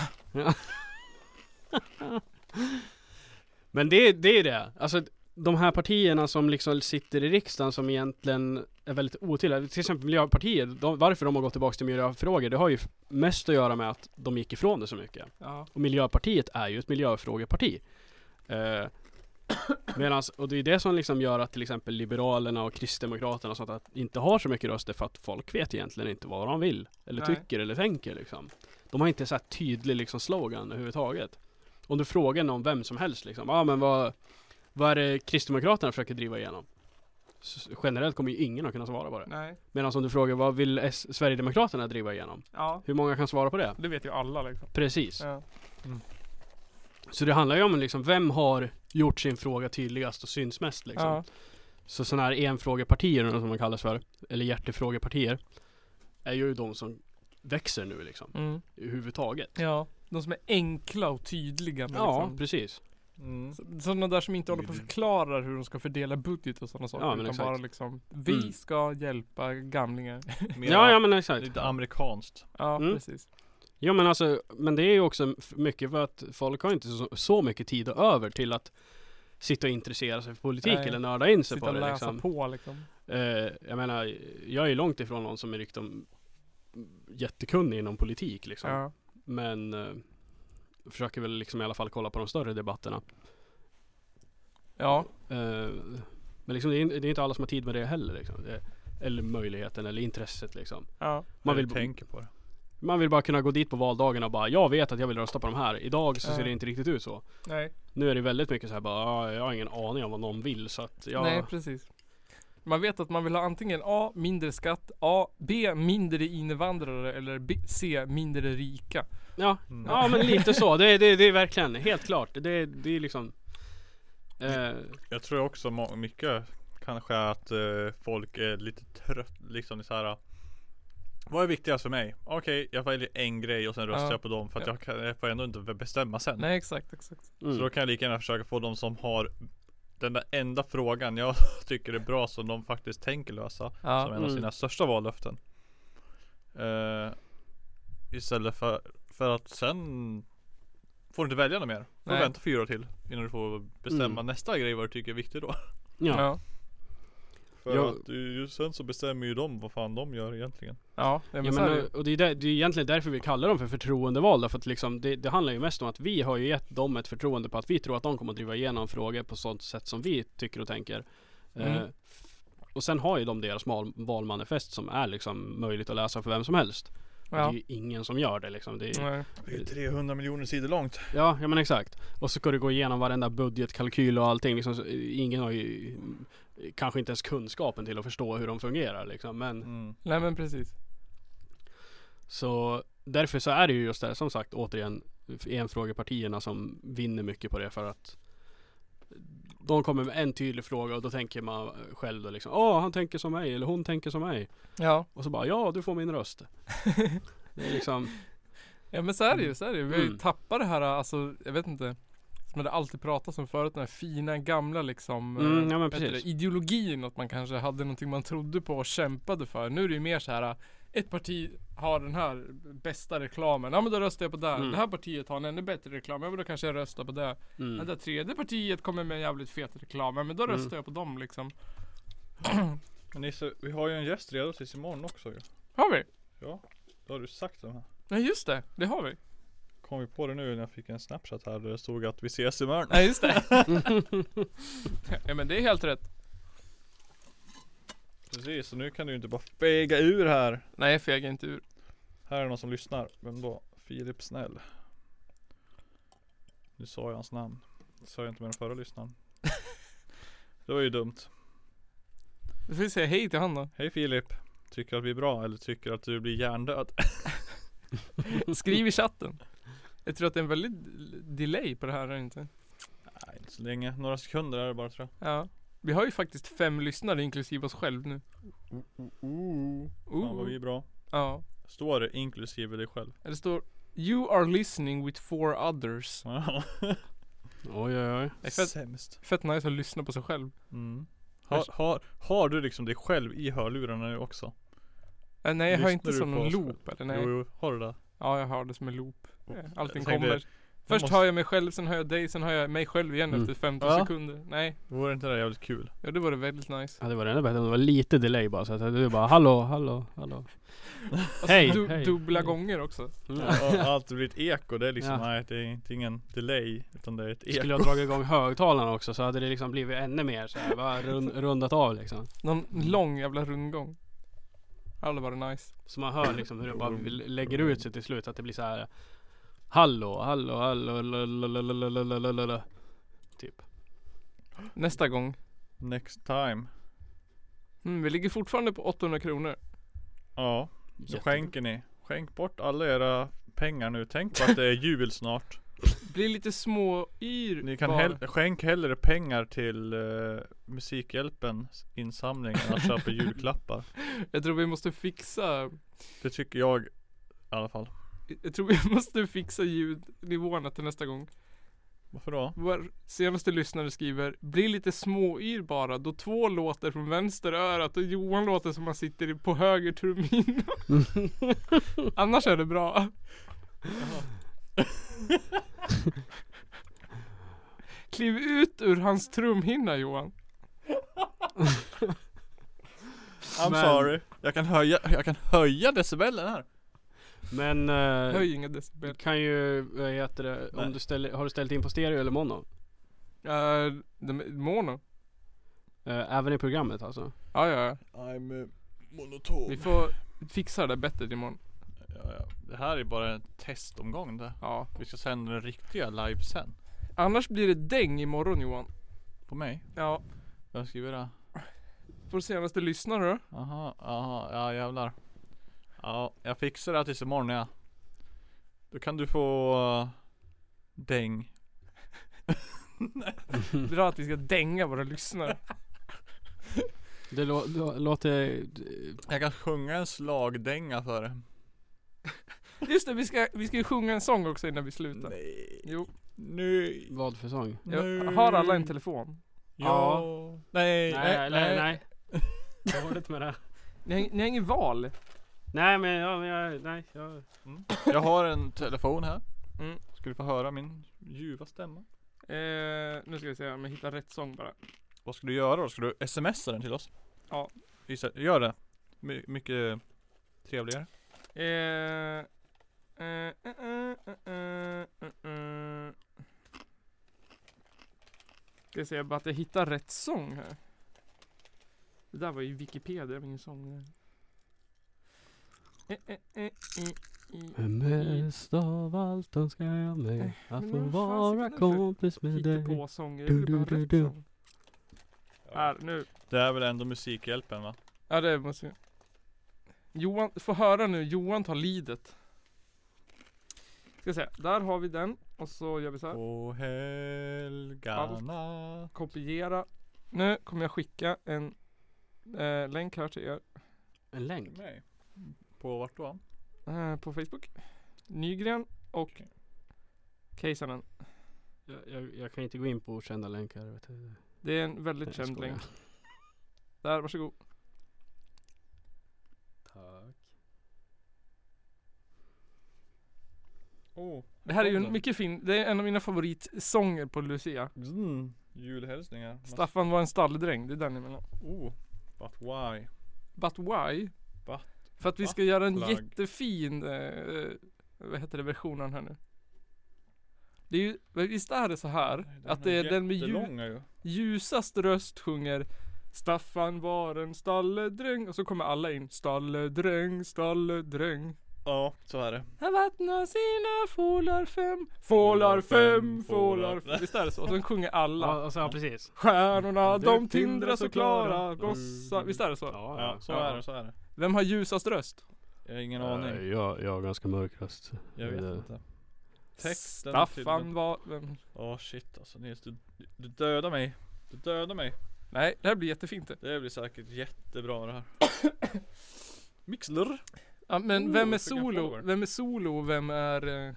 C: Men det, det är det. Alltså de här partierna som liksom sitter i riksdagen som egentligen är väldigt otydliga. Till exempel Miljöpartiet, de, varför de har gått tillbaka till miljöfrågor, det har ju f- mest att göra med att de gick ifrån det så mycket.
A: Ja.
C: Och Miljöpartiet är ju ett miljöfrågeparti. Eh, medans, och det är det som liksom gör att till exempel Liberalerna och Kristdemokraterna och sånt att inte har så mycket röster för att folk vet egentligen inte vad de vill eller
A: Nej.
C: tycker eller tänker liksom. De har inte så här tydlig liksom slogan överhuvudtaget. Om du frågar någon, vem som helst liksom, ja ah, men vad, vad är det Kristdemokraterna försöker driva igenom? S- Generellt kommer ju ingen att kunna svara på det.
A: Nej.
C: Medan om du frågar, vad vill S- Sverigedemokraterna driva igenom?
A: Ja.
C: Hur många kan svara på det?
A: Det vet ju alla liksom.
C: Precis.
A: Ja.
C: Så det handlar ju om liksom, vem har gjort sin fråga tydligast och syns mest liksom.
A: Ja.
C: Så sådana här enfrågepartier, eller vad man kallas för, eller hjärtefrågepartier, är ju de som växer nu liksom,
A: Mm.
C: överhuvudtaget.
A: ja. De som är enkla och tydliga med
C: Ja,
A: liksom.
C: precis.
E: Mm.
A: Så- Sådana där som inte håller på och förklarar hur de ska fördela budget och sådana saker.
C: Ja, men
A: utan
C: exakt.
A: bara liksom, vi
C: Mm.
A: ska hjälpa gamlingar.
E: Mer
C: Ja, ja men exakt.
E: lite amerikanskt.
A: Ja,
C: Mm.
A: precis.
C: Ja men alltså, men det är ju också f- mycket för att folk har inte så, så mycket tid över till att sitta och intressera sig för politik
A: Nej.
C: eller nörda in sig
A: Sitta
C: på
A: och
C: det
A: läsa
C: liksom.
A: på liksom.
C: Eh, jag menar, jag är långt ifrån någon som är riktigt jättekunnig inom politik liksom.
A: Ja.
C: Men eh, försöker väl liksom i alla fall kolla på de större debatterna.
A: ja.
C: Eh, men liksom det är, det är inte alla som har tid med det heller liksom. det, Eller möjligheten eller intresset liksom.
A: Ja.
C: Man
E: Eller
C: vill,
E: tänker på det.
C: man vill bara kunna gå dit på valdagen och bara Jag vet att jag vill rösta på de här. Idag så ser
A: Ja.
C: det inte riktigt ut så.
A: Nej.
C: Nu är det väldigt mycket så här bara "Ah, Jag har ingen aning om vad någon vill så att jag
A: Nej, precis. Man vet att man vill ha antingen A. Mindre skatt. A. B. Mindre invandrare. Eller B, C. Mindre rika.
C: Ja,
E: Mm.
C: ja men lite så. Det, är- det, är- det är verkligen helt klart. Det, det är liksom eh,
E: Jag tror också må- mycket kanske att eh, folk är lite trött liksom så här. Vad är viktigast för mig? Okej, jag väljer en grej och sen röstar
A: Ja.
E: jag på dem för att
A: Ja.
E: jag, kan, jag får ändå inte bestämma sen.
A: Nej, exakt, exakt.
C: mm.
E: Så då kan jag lika gärna försöka få de som har den där enda frågan jag tycker är bra som de faktiskt tänker lösa
A: Ja.
E: som en av
C: Mm.
E: sina största vallöften. Eh, istället för, för att sen får du inte välja något mer. Får
A: Nej.
E: vänta fyra år till innan du får bestämma
C: Mm.
E: nästa grej vad du tycker är viktigt då.
C: ja.
A: Ja.
E: För
C: Ja.
E: att du, ju- sen så bestämmer ju de vad fan de gör egentligen.
A: Ja, ja, men
C: Ja,
A: så är det ju.
C: men, och det är, där, det är egentligen därför vi kallar dem för förtroendevalda. För att liksom, det, det handlar ju mest om att vi har ju gett dem ett förtroende på att vi tror att de kommer att driva igenom frågor på sånt sätt som vi tycker och tänker.
A: Mm.
C: Eh, f- och sen har ju de deras mal, valmanifest som är liksom möjligt att läsa för vem som helst. Och Det är
A: Ja.
C: ju ingen som gör det liksom. Det är,
A: Nej.
E: Det är 300 miljoner sidor långt.
C: ja, ja men exakt. Och så ska du gå igenom varenda budgetkalkyl och allting. Liksom, så, ingen har ju mm, kanske inte ens kunskapen till att förstå hur de fungerar liksom. Men
E: Mm.
A: Nej, men precis.
C: Så därför så är det ju just det här, som sagt återigen enfrågepartierna som vinner mycket på det för att de kommer med en tydlig fråga och då tänker man själv då liksom Åh, han tänker som mig eller hon tänker som mig
A: Ja.
C: Och så bara ja, du får min röst Det är liksom
A: Ja men så är det ju, så är det ju. Vi har ju
C: Mm.
A: tappat det här, alltså jag vet inte. Som det alltid pratas om förut, den här fina gamla liksom
C: Mm,
A: eh,
C: ja, men
A: vad heter
C: precis.
A: det, ideologin. Att man kanske hade någonting man trodde på och kämpade för. Nu är det ju mer så här, eh, ett parti har den här bästa reklamen. Ja men då röstar jag på det.
C: Mm.
A: Det här partiet har en ännu bättre reklam. Ja men då kanske jag röstar på det.
C: mm.
A: Det där tredje partiet kommer med en jävligt fet reklam. Ja men då
C: Mm.
A: röstar jag på dem liksom.
E: Men Nisse, vi har ju en gäst redo tills imorgon också ju.
A: Har vi?
E: Ja, då har du sagt det här.
A: Nej just det, det har vi.
B: kom vi på det nu när jag fick en snapchat här där det stod att vi ses imorgon.
A: Nej just det. ja men det är helt rätt.
B: Precis, så nu kan du ju inte bara fega ur här.
A: Nej fega inte ur.
B: Här är någon som lyssnar. Vem då? Filip Snäll. Nu sa jag hans namn. Det sa jag inte med den förra lyssnaren. det var ju dumt.
A: Då får vi säga hej till han då.
B: Hej Filip. Tycker att vi är bra eller tycker att du blir hjärndöd?
A: Skriv i chatten. Jag tror att det är en väldigt delay på det här, är det inte?
B: Nej, inte så länge. Några sekunder är det bara tror jag.
A: Ja. Vi har ju faktiskt fem lyssnare inklusive oss själv nu.
B: Fan vad vi är bra.
A: Ja.
B: Står det inklusive dig själv?
A: Det står You are listening with four others.
B: Ja.
C: Oj oj oj.
A: Det är fett,
B: Sämst.
A: fett nice att lyssna på sig själv.
B: Mm. Har, har, har du liksom dig själv i hörlurarna nu också?
A: Äh, nej jag hör
B: Lyssnar
A: inte
B: du
A: som
B: på
A: någon
B: oss
A: loop eller nej.
B: Jo, jo, har du det?
A: Ja jag hör det som en loop. Eh, Allting
B: Mm. Jag tänkte,
A: kommer. Först
B: måste-
A: hör jag mig själv, sen hör jag dig, sen hör jag mig själv igen
C: Mm.
A: efter 15
B: Ja.
A: sekunder. Nej,
B: Vore inte det jävligt kul?
A: ja det vore väldigt nice.
C: Ja, det var ännu bättre om det var lite delay bara så att du bara hallå, hallå, hallå.
A: Alltså,
C: Hej,
A: du,
C: hej, Mm.
A: dubbla
C: hej.
A: gånger också.
B: Ja, Allt blir ett eko. Det är liksom,
C: Ja.
B: nej det är inte ingen delay. Utan det är ett eko.
C: Skulle jag dragit igång högtalarna också så hade det liksom blivit ännu mer så här, bara rund, rundat av liksom.
A: Någon lång jävla rundgång. Det hade varit nice.
C: Så man hör liksom hur det bara lägger ut sig till slut att det blir så här Hallå, hallå, hallå, lalalalalalala. Typ.
A: Nästa gång.
B: Next time.
A: Mm, vi ligger fortfarande på 800 kronor.
B: Ja, så
C: Jättebra.
B: skänker ni. Skänk bort alla era pengar nu. Tänk på att det är jul snart.
A: Blir lite små yr
B: Ni kan
A: bara.
B: hell- skänk hellre pengar till eh, Musikhjälpens insamling än att köpa julklappar.
A: Jag tror vi måste fixa
B: Det tycker jag i alla fall.
A: Jag tror vi måste fixa ljudnivåerna till nästa gång.
B: Varför då?
A: Vår senaste lyssnare skriver Blir lite småyr bara då två låter från vänster örat och Johan låter som han sitter i- på höger trumhinna. Annars är det bra. Kliv ut ur hans trumhinna Johan.
B: I'm
C: Men-
B: sorry. Jag kan höja, jag kan höja decibelen här.
C: Men eh,
A: Höj inga
C: du
A: decibel.
C: kan ju, vad heter det,
B: Nej.
C: om du ställer, har du ställt in på stereo eller mono?
A: Uh, de, mono.
C: Eh, även i programmet alltså?
A: Ja, ja, ja.
B: I'm eh, monoton.
A: Vi får fixa det bättre imorgon.
B: Ja, ja. Det här är bara en testomgång det.
A: Ja.
B: Vi ska sända den riktiga live sen.
A: Annars blir det däng imorgon Johan.
B: På mig.
A: Ja.
B: Vem skriver det?
A: Vår senaste lyssnare då?
B: Aha, aha, ja jävlar. Ja, jag fixar det här tills imorgon ja. Då kan du få eh, däng.
A: Bra att vi ska dänga våra lyssnare.
C: Det lå- lå- låter... eh,
B: Jag kan sjunga en slagdänga för det.
A: Just det, vi ska, vi ska ju sjunga en sång också innan vi slutar.
B: Nej.
A: Jo,
B: Nej.
C: Vad för sång?
A: jag har alla en telefon?
B: Ja. Nej,
C: Nej, nej, nej. Dåligt med det.
A: Ni har, ni har ingen val? Eh,
C: Nej men ja, men jag, nej. Jag...
B: Jag har en telefon här.
A: Mm.
B: Ska du få höra min ljuva stämma?
A: Eh, nu ska vi se om jag hittar rätt sång bara.
B: Vad ska du göra då? Ska du smsa den till oss?
A: Ja.
B: Isa, Gör det. My- mycket trevligare.
A: Eh, eh, eh, eh, eh, eh, eh, eh. Ska se bara att jag hittar rätt sång här. Det där var ju Wikipedia, det var ingen sång. där. Eh, eh, eh, eh, eh.
C: Mest av allt önskar jag mig att
A: Äh, men
C: få
A: vad fan
C: vara
A: ska den här för
C: kompis med dig.
A: hittepåsånger.
C: Du,
A: Det är
C: du,
A: bara rätt
C: du.
A: sång. Här, nu.
B: Det är väl ändå Musikhjälpen va?
A: Ja, det måste jag. Johan, få höra nu. Johan tar lidet. Ska se. Där har vi den. Och så gör vi så här.
B: Åh helgana.
A: Kopiera. Nu kommer jag skicka en eh, länk här till er
C: En länk?
B: Nej. På vart då?
A: eh, på Facebook. Nygren och
B: Okej.
A: Keisanen.
C: Jag, jag, jag kan inte gå in på okända länkar. Vet du.
A: Det är en väldigt
C: Jag
A: känd
C: skojar.
A: länk. Där, varsågod.
C: Tack.
B: Oh,
A: Det här är ju
B: kom
A: en
B: den.
A: mycket fin. Det är en av mina favoritsånger på Lucia.
B: mm. Julhälsningar.
A: Staffan var en stalldräng. Det är den jag menar.
B: Oh, but why?
A: But why?
B: But
A: För att vi ska göra en eh,
B: plug.
A: jättefin, eh, vad heter det, versionen här nu. Det är ju, visst är det så här?
F: Nej, den
A: Att det är den med ljud,
B: Jättelånga ju.
A: ljusast röst sjunger Staffan var en stalledräng och så kommer alla in Stalledräng, stalledräng
B: Ja, så är det.
A: Han vattnar sina fålar fem Fålar fem, fålar fem Visst är det så? Och sen sjunger alla
C: Ja, alltså, ja precis.
A: Stjärnorna
B: Det
A: de
B: tindrar
A: tindrar så
B: så klara.
A: klara Gossar, visst är det så?
C: Mm, Ja,
B: Ja,
C: ja.
B: så
A: Ja.
B: är det, så är det.
A: Vem har ljusast röst?
B: Jag har ingen aning.
C: Eh, Jag, jag har ganska mörk röst.
B: Jag vet
C: det-
B: inte. Texten
A: Staffan
B: tydligen.
A: var... Vem?
B: Åh shit alltså Nils, du, du dödar mig. Du dödar mig.
A: Nej, det här blir jättefint det.
B: Det blir säkert jättebra det här. Mixler.
A: ja, Men
B: Oh,
A: vem är
B: jag fick en
A: solo?
B: follower.
A: Vem är solo och vem är... eh,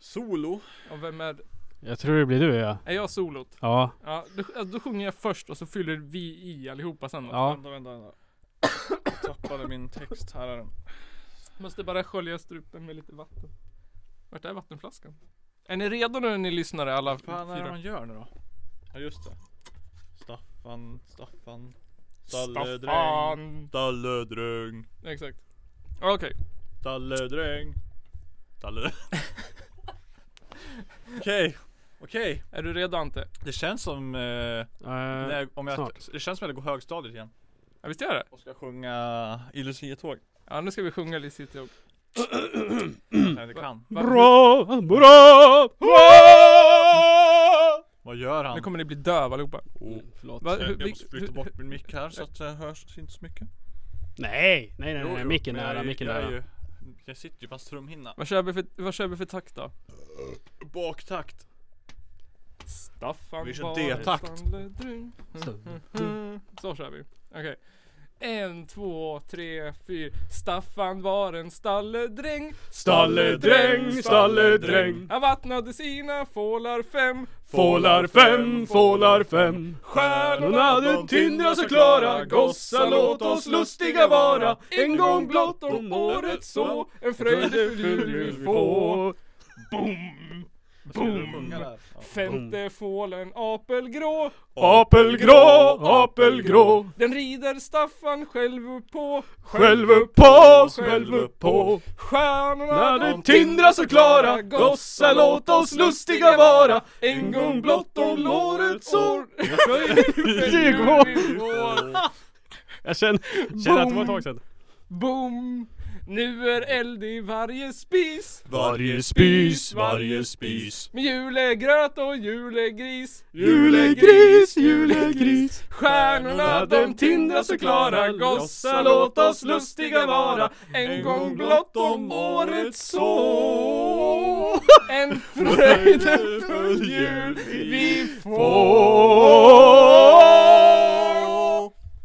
B: Solo.
A: Och vem är...
C: Jag tror det blir du ja.
A: Är jag solot?
C: Ja.
A: Ja, då, alltså, då sjunger jag först och så fyller vi i allihopa sen. Ja.
C: Ja.
B: Vänta, vänta, vänta. Jag tappade min text. Här är den.
A: Måste bara skölja strupen med lite vatten. Vart är vattenflaskan? Är ni redo nu ni lyssnare alla
B: Vad fan är det
A: fyra?
B: man gör nu då? Ja just det. Staffan, Staffan. Stalledräng.
A: Staffan!
B: Stalledräng.
A: Exakt. Okej.
B: Stalledräng. Stalledräng. Okej. Okej.
A: Är du redo Ante?
B: Det känns som eh,
C: Eh,
B: när- om jag,
C: snart.
B: Det känns som att jag går högstadiet igen.
A: Ja visst gör jag det?
B: Och ska sjunga I luciatåg.
A: Ja nu ska vi sjunga lite sitt ihop.
B: Nej det kan.
A: Va-
C: Bra, bra, bra!
B: Vad gör han?
A: Nu kommer ni bli döva allihopa.
B: Oh.
C: Förlåt.
A: Va?
B: Jag,
A: hur-
B: jag måste flytta
A: hur-
B: bort min mick här så att det hörs inte så mycket.
C: Nej, nej, nej,
B: Jo,
C: nej, nej.
B: jo,
C: micken
B: men jag
C: nära,
B: är-
C: micken
B: jag är
C: nära.
B: ju- Jag sitter ju på hans trumhinna.
A: Vad kör vi för, vad kör vi för takt då?
B: Baktakt.
A: Staffan
B: Vi kör
A: var
B: D-takt.
A: en stalledräng. Mm, Så kör vi. Okej. En, två, tre, fyra. Staffan var en stalledräng.
B: Stalledräng, stalledräng.
A: Han vattnade sina fålar fem.
B: Fålar fem, fålar fem.
A: Stjärnorna de tindrar så klara. Gossar låt oss lustiga vara. En gång blott om året så. En fröjdefull jul vi få.
B: Boom! sjunga där? Ja.
A: Femte fålen apelgrå.
C: Apelgrå, apelgrå.
A: Den rider Staffan själv upp på.
C: Själv upp på, själv upp på.
A: Stjärnorna
C: När det tindrar så klara. Gossar låt oss lustiga vara.
A: En gång blott om året så
C: Det
A: går
C: Jag känner, känner att det var ett tag sedan.
A: Boom! Nu är eld i varje spis
B: Varje
A: spis,
B: varje spis.
A: Med julegröt och julegris
C: Julegris, julegris.
A: Stjärnorna de tindrar så klara Gossar låt oss lustiga vara En gång blott om året så En fröjdefull jul vi får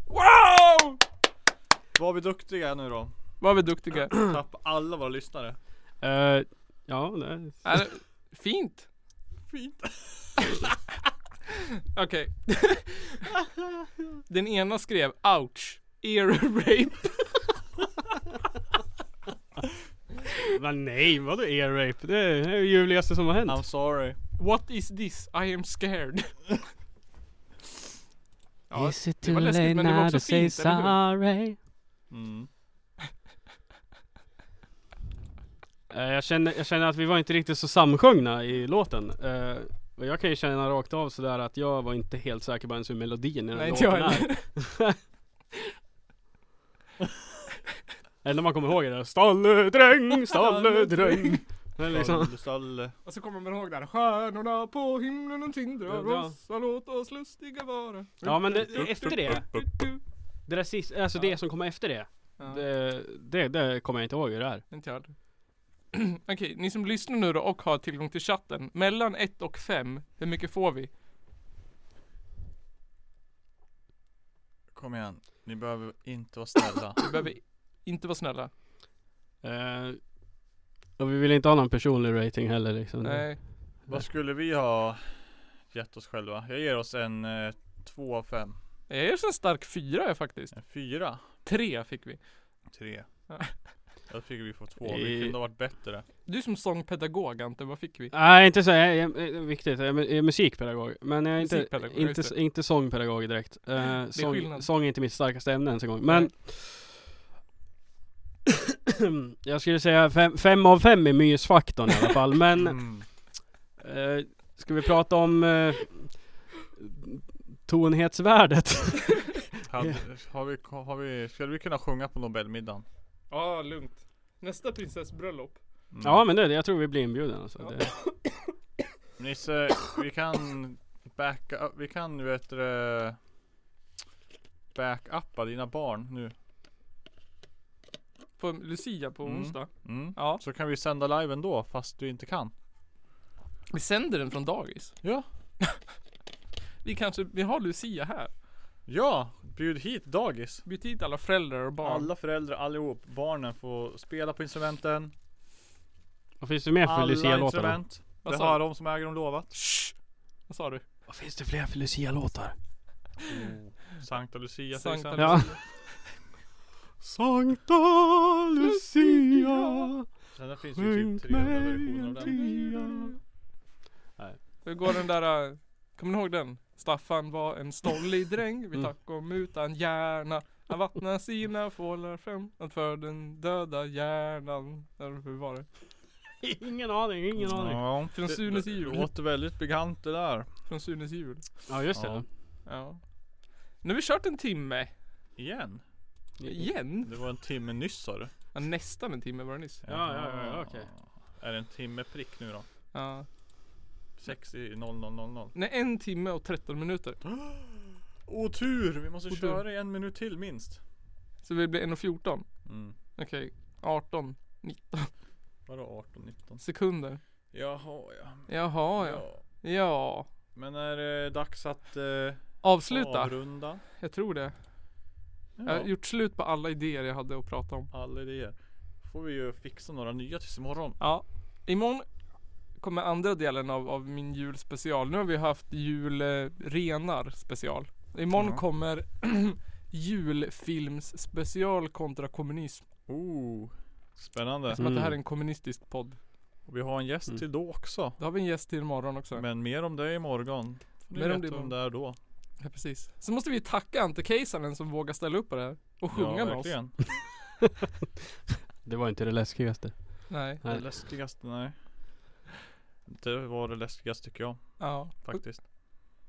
A: Wow!
B: Var vi duktiga nu då?
A: Vad vi duktiga
B: Tapp alla våra lyssnare.
C: Eh, ja, nej.
A: Är det- Fint!
B: Fint.
A: Okej. Den ena skrev ouch, ear rape.
C: Men nej, vadå ear rape? Det är det ljuvligaste som har hänt.
B: I'm
A: Alltså,
B: sorry.
A: What is this? I am scared. Ja,
G: Is it
A: det
G: too
A: var läskigt
G: late
A: men det var
G: now
A: också
G: to say
A: fint, eller hur?
G: sorry?
B: Mm.
C: Eh, jag, känner, jag känner att vi var inte riktigt så samsjungna i låten. Eh, och jag kan ju känna rakt av sådär att jag var inte helt säker på ens hur melodin i
A: Nej,
C: den här
A: inte jag
C: låten är.
A: heller.
C: Eller man kommer ihåg det där Stalledräng, stalledräng. Eller liksom.
B: Stalle, stalle.
A: Och så kommer man ihåg där stjärnorna på himlen och tindrar
C: Ja.
A: oss. så Låt oss lustiga vara.
C: Ja men det, det- efter det.
A: Du, du.
C: Det där sist, alltså
A: Ja.
C: det som kom efter det.
A: Ja,
C: Det, det, det kommer jag inte ihåg hur det är.
A: inte jag. hade. Okej, ni som lyssnar nu då och har tillgång till chatten. Mellan 1 och 5, hur mycket får vi?
B: Kom igen. Ni behöver inte vara snälla.
A: Vi behöver inte vara snälla.
C: Eh, och vi vill inte ha någon personlig rating heller liksom.
A: Nej.
B: Vad skulle vi ha gett oss själva? Jag ger oss en 2 av 5.
A: Jag är så en stark fyra jag faktiskt.
B: En 4.
A: Tre fick vi.
B: 3.
A: Ja.
B: Jag tycker vi får 2. Vi
C: Eh.
B: kunde ha varit bättre.
A: Du som sångpedagog Ante, vad fick vi?
C: Nej inte så, jag, jag, jag, viktigt. Jag är mu- jag är musikpedagog. Men jag är inte,
A: Musikpedagog,
C: inte,
A: just det.
C: inte sångpedagog direkt. Eh, sång,
A: skillnad.
C: sång är inte mitt starkaste ämne ens en gång. Men jag skulle säga fem, fem av fem i mysfaktorn i alla fall. Men
B: Mm.
C: Eh, ska vi prata om eh, tonhetsvärdet?
B: Hade, har vi, har vi, skulle vi kunna sjunga på Nobelmiddagen?
A: Ja, lugnt. Nästa prinsessbröllop.
B: Mm.
C: Ja men det, jag tror vi blir inbjudna alltså.
A: Ja.
C: Det,
B: Nisse, vi kan backa upp, vi kan du vet det, backuppa dina barn nu.
A: På Lucia på
B: Mm.
A: onsdag.
B: Mm.
A: Ja.
B: Så kan vi sända live ändå fast du inte kan.
A: Vi sänder den från dagis.
B: Ja.
A: Vi kanske, vi har Lucia här.
B: Ja, bjud hit dagis.
A: Bjud hit alla föräldrar och barn.
B: Alla föräldrar, allihop, barnen får spela på instrumenten.
C: vad finns det mer för
B: Alla
C: Lucia-låtar?
B: instrument.
A: Vad
B: Det
A: sa
B: har
A: du?
B: de som äger dem lovat.
A: Shh! Vad sa du?
C: Vad finns det fler för Lucia-låtar?
B: Sankta Lucia till
A: Sankta
B: exempel.
C: Ja. Sankta Lucia,
B: Sen finns det ju
C: sjunk
B: typ 300
C: mig
B: versioner av
C: en
B: den.
C: tia.
A: Hur går den där, äh, kommer ni ihåg den? Staffan var en stollig dräng, vi
C: Mm.
A: tack om utan hjärna. Han vattnar sina fålar fram, för den döda hjärnan. Eller hur var det?
C: Ingen aning, ingen aning.
B: Ja,
A: Från
B: det-
A: Sunes
B: det
A: jul.
B: Låter väldigt bekant det där.
A: Från Sunes jul.
C: Ja just
B: Ja.
C: det.
A: Ja. Nu har vi kört en timme.
B: Igen.
A: Igen?
B: Det var en timme nyss sa du.
A: Ja, nästan en timme var det nyss.
C: Ja, ja, ja, ja, okej.
B: Är det en timme prick nu då?
A: Ja.
B: 60 0000.
A: Nej, en timme och 13 minuter.
B: Otur! Vi måste
A: Otur.
B: köra i en minut till minst.
A: Så vi blir 1 och 14.
B: Mm.
A: Okej, 18, 19
B: Vadå 18, 19?
A: sekunder.
B: Jaha ja.
A: Jaha ja. Ja.
B: Men är det dags att eh,
A: Avsluta.
B: avrunda?
A: Jag tror det. Jag har
B: Ja,
A: gjort slut på alla idéer jag hade att prata om.
B: alla idéer. Får vi ju fixa några nya tills imorgon.
A: Ja. Imorgon kommer andra delen av, av min julspecial. Nu har vi haft julrenar special. Imorgon
B: Ja.
A: kommer julfilmsspecial kontra kommunism.
B: Oh, spännande.
A: Som att det här är
C: Mm.
A: en kommunistisk podd.
B: Och vi har en gäst
C: Mm.
B: till då också.
A: Då har vi en gäst till imorgon också.
B: Men mer om det imorgon. Får ni
A: Mer om det
B: veta om
A: imorgon.
B: det är då.
A: Ja, precis. Så måste vi tacka Ante Keisanen som vågar ställa upp på det här. Och sjunga med oss.
B: verkligen.
C: Det var inte det läskigaste.
A: Nej.
B: Det
C: Nej.
B: läskigaste, nej. Det var det läskigaste tycker jag
A: Ja.
B: faktiskt.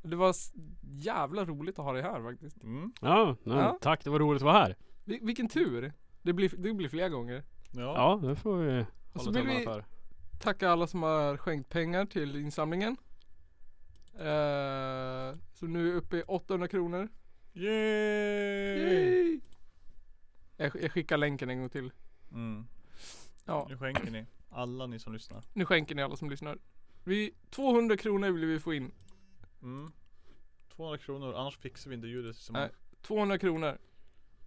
A: Och Det var s- jävla roligt att ha dig här faktiskt.
B: Mm.
C: Ja, nej,
A: Ja.
C: tack det var roligt att vara här.
A: Vi, vilken tur. Det blir, det blir fler gånger.
B: Ja.
C: Ja, det får vi
A: Och
C: hålla
A: så vill
C: tummarna
A: vi
C: för.
A: tacka alla som har skänkt pengar till insamlingen. Eh, så nu är vi uppe i 800 kronor.
B: Yay!
A: Yay! Jag, sk- jag skickar länken en gång till.
B: Mm.
A: Ja,
B: Nu skänker ni. Alla ni som lyssnar.
A: nu skänker ni alla som lyssnar. Vi, 200 kronor vill vi få in.
B: Mm. 200 kronor, annars fixar vi inte ljudet som
A: Nej. 200 kronor.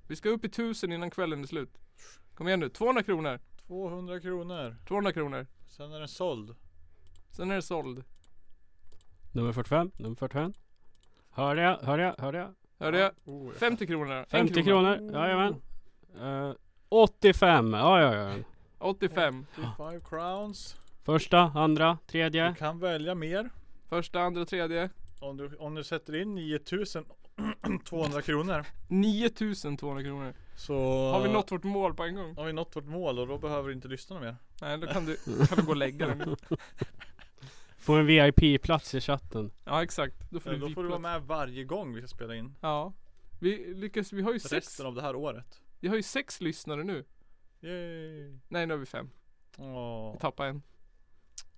A: Vi ska upp i 1000 innan kvällen är slut. Kom igen nu, 200 kronor.
B: 200 kronor.
A: 200 kronor.
B: Sen är den såld.
A: Sen är det såld.
C: Nummer 45, nummer 45. Hör jag, hör jag, hör jag?
A: Hörde jag?
B: Oh, ja.
A: 50 kronor. En
C: 50
A: krona.
C: kronor, jajamän. Eh, 85, ja ja ja.
A: 85.
B: 55 crowns.
C: Första, andra,
B: Du
C: tredje.
B: kan välja mer.
A: Första, andra, tredje.
B: Om du, om du sätter in 9200 kronor.
A: 9200 kronor.
B: Så
A: Har vi nått vårt mål på en gång?
B: har vi nått vårt mål och då behöver du inte lyssna mer.
A: Nej, då kan du, kan du gå och lägga den.
C: Får en VIP-plats i chatten.
A: Ja, exakt. Då får,
B: Ja,
A: du,
B: då får du
A: VIP-plats.
B: vara med varje gång vi ska spela in.
A: Ja. Vi lyckas, vi har ju sex,
B: Resten av det här året.
A: vi har ju sex lyssnare nu.
B: Yay!
A: Nej, nu har vi fem.
B: Åh,
A: Vi tappade en.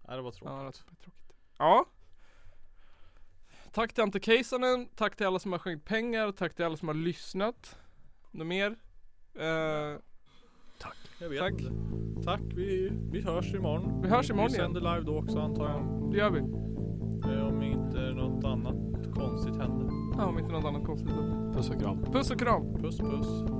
B: nej, det var
A: Ja, det var
B: tråkigt.
A: tråkigt. Ja. Tack till Ante Keisanen, tack till alla som har skänkt pengar, tack till alla som har lyssnat. Något mer? Eh,
B: Jag vet
A: Tack.
B: inte. Tack, vi, vi hörs imorgon.
A: vi hörs imorgon
B: Vi
A: igen.
B: sänder live då också antar jag.
A: Det gör vi.
B: Eh, Om inte något annat konstigt händer.
A: Ja, om inte något annat konstigt.
C: Puss och kram.
A: Puss och kram!
B: Puss puss.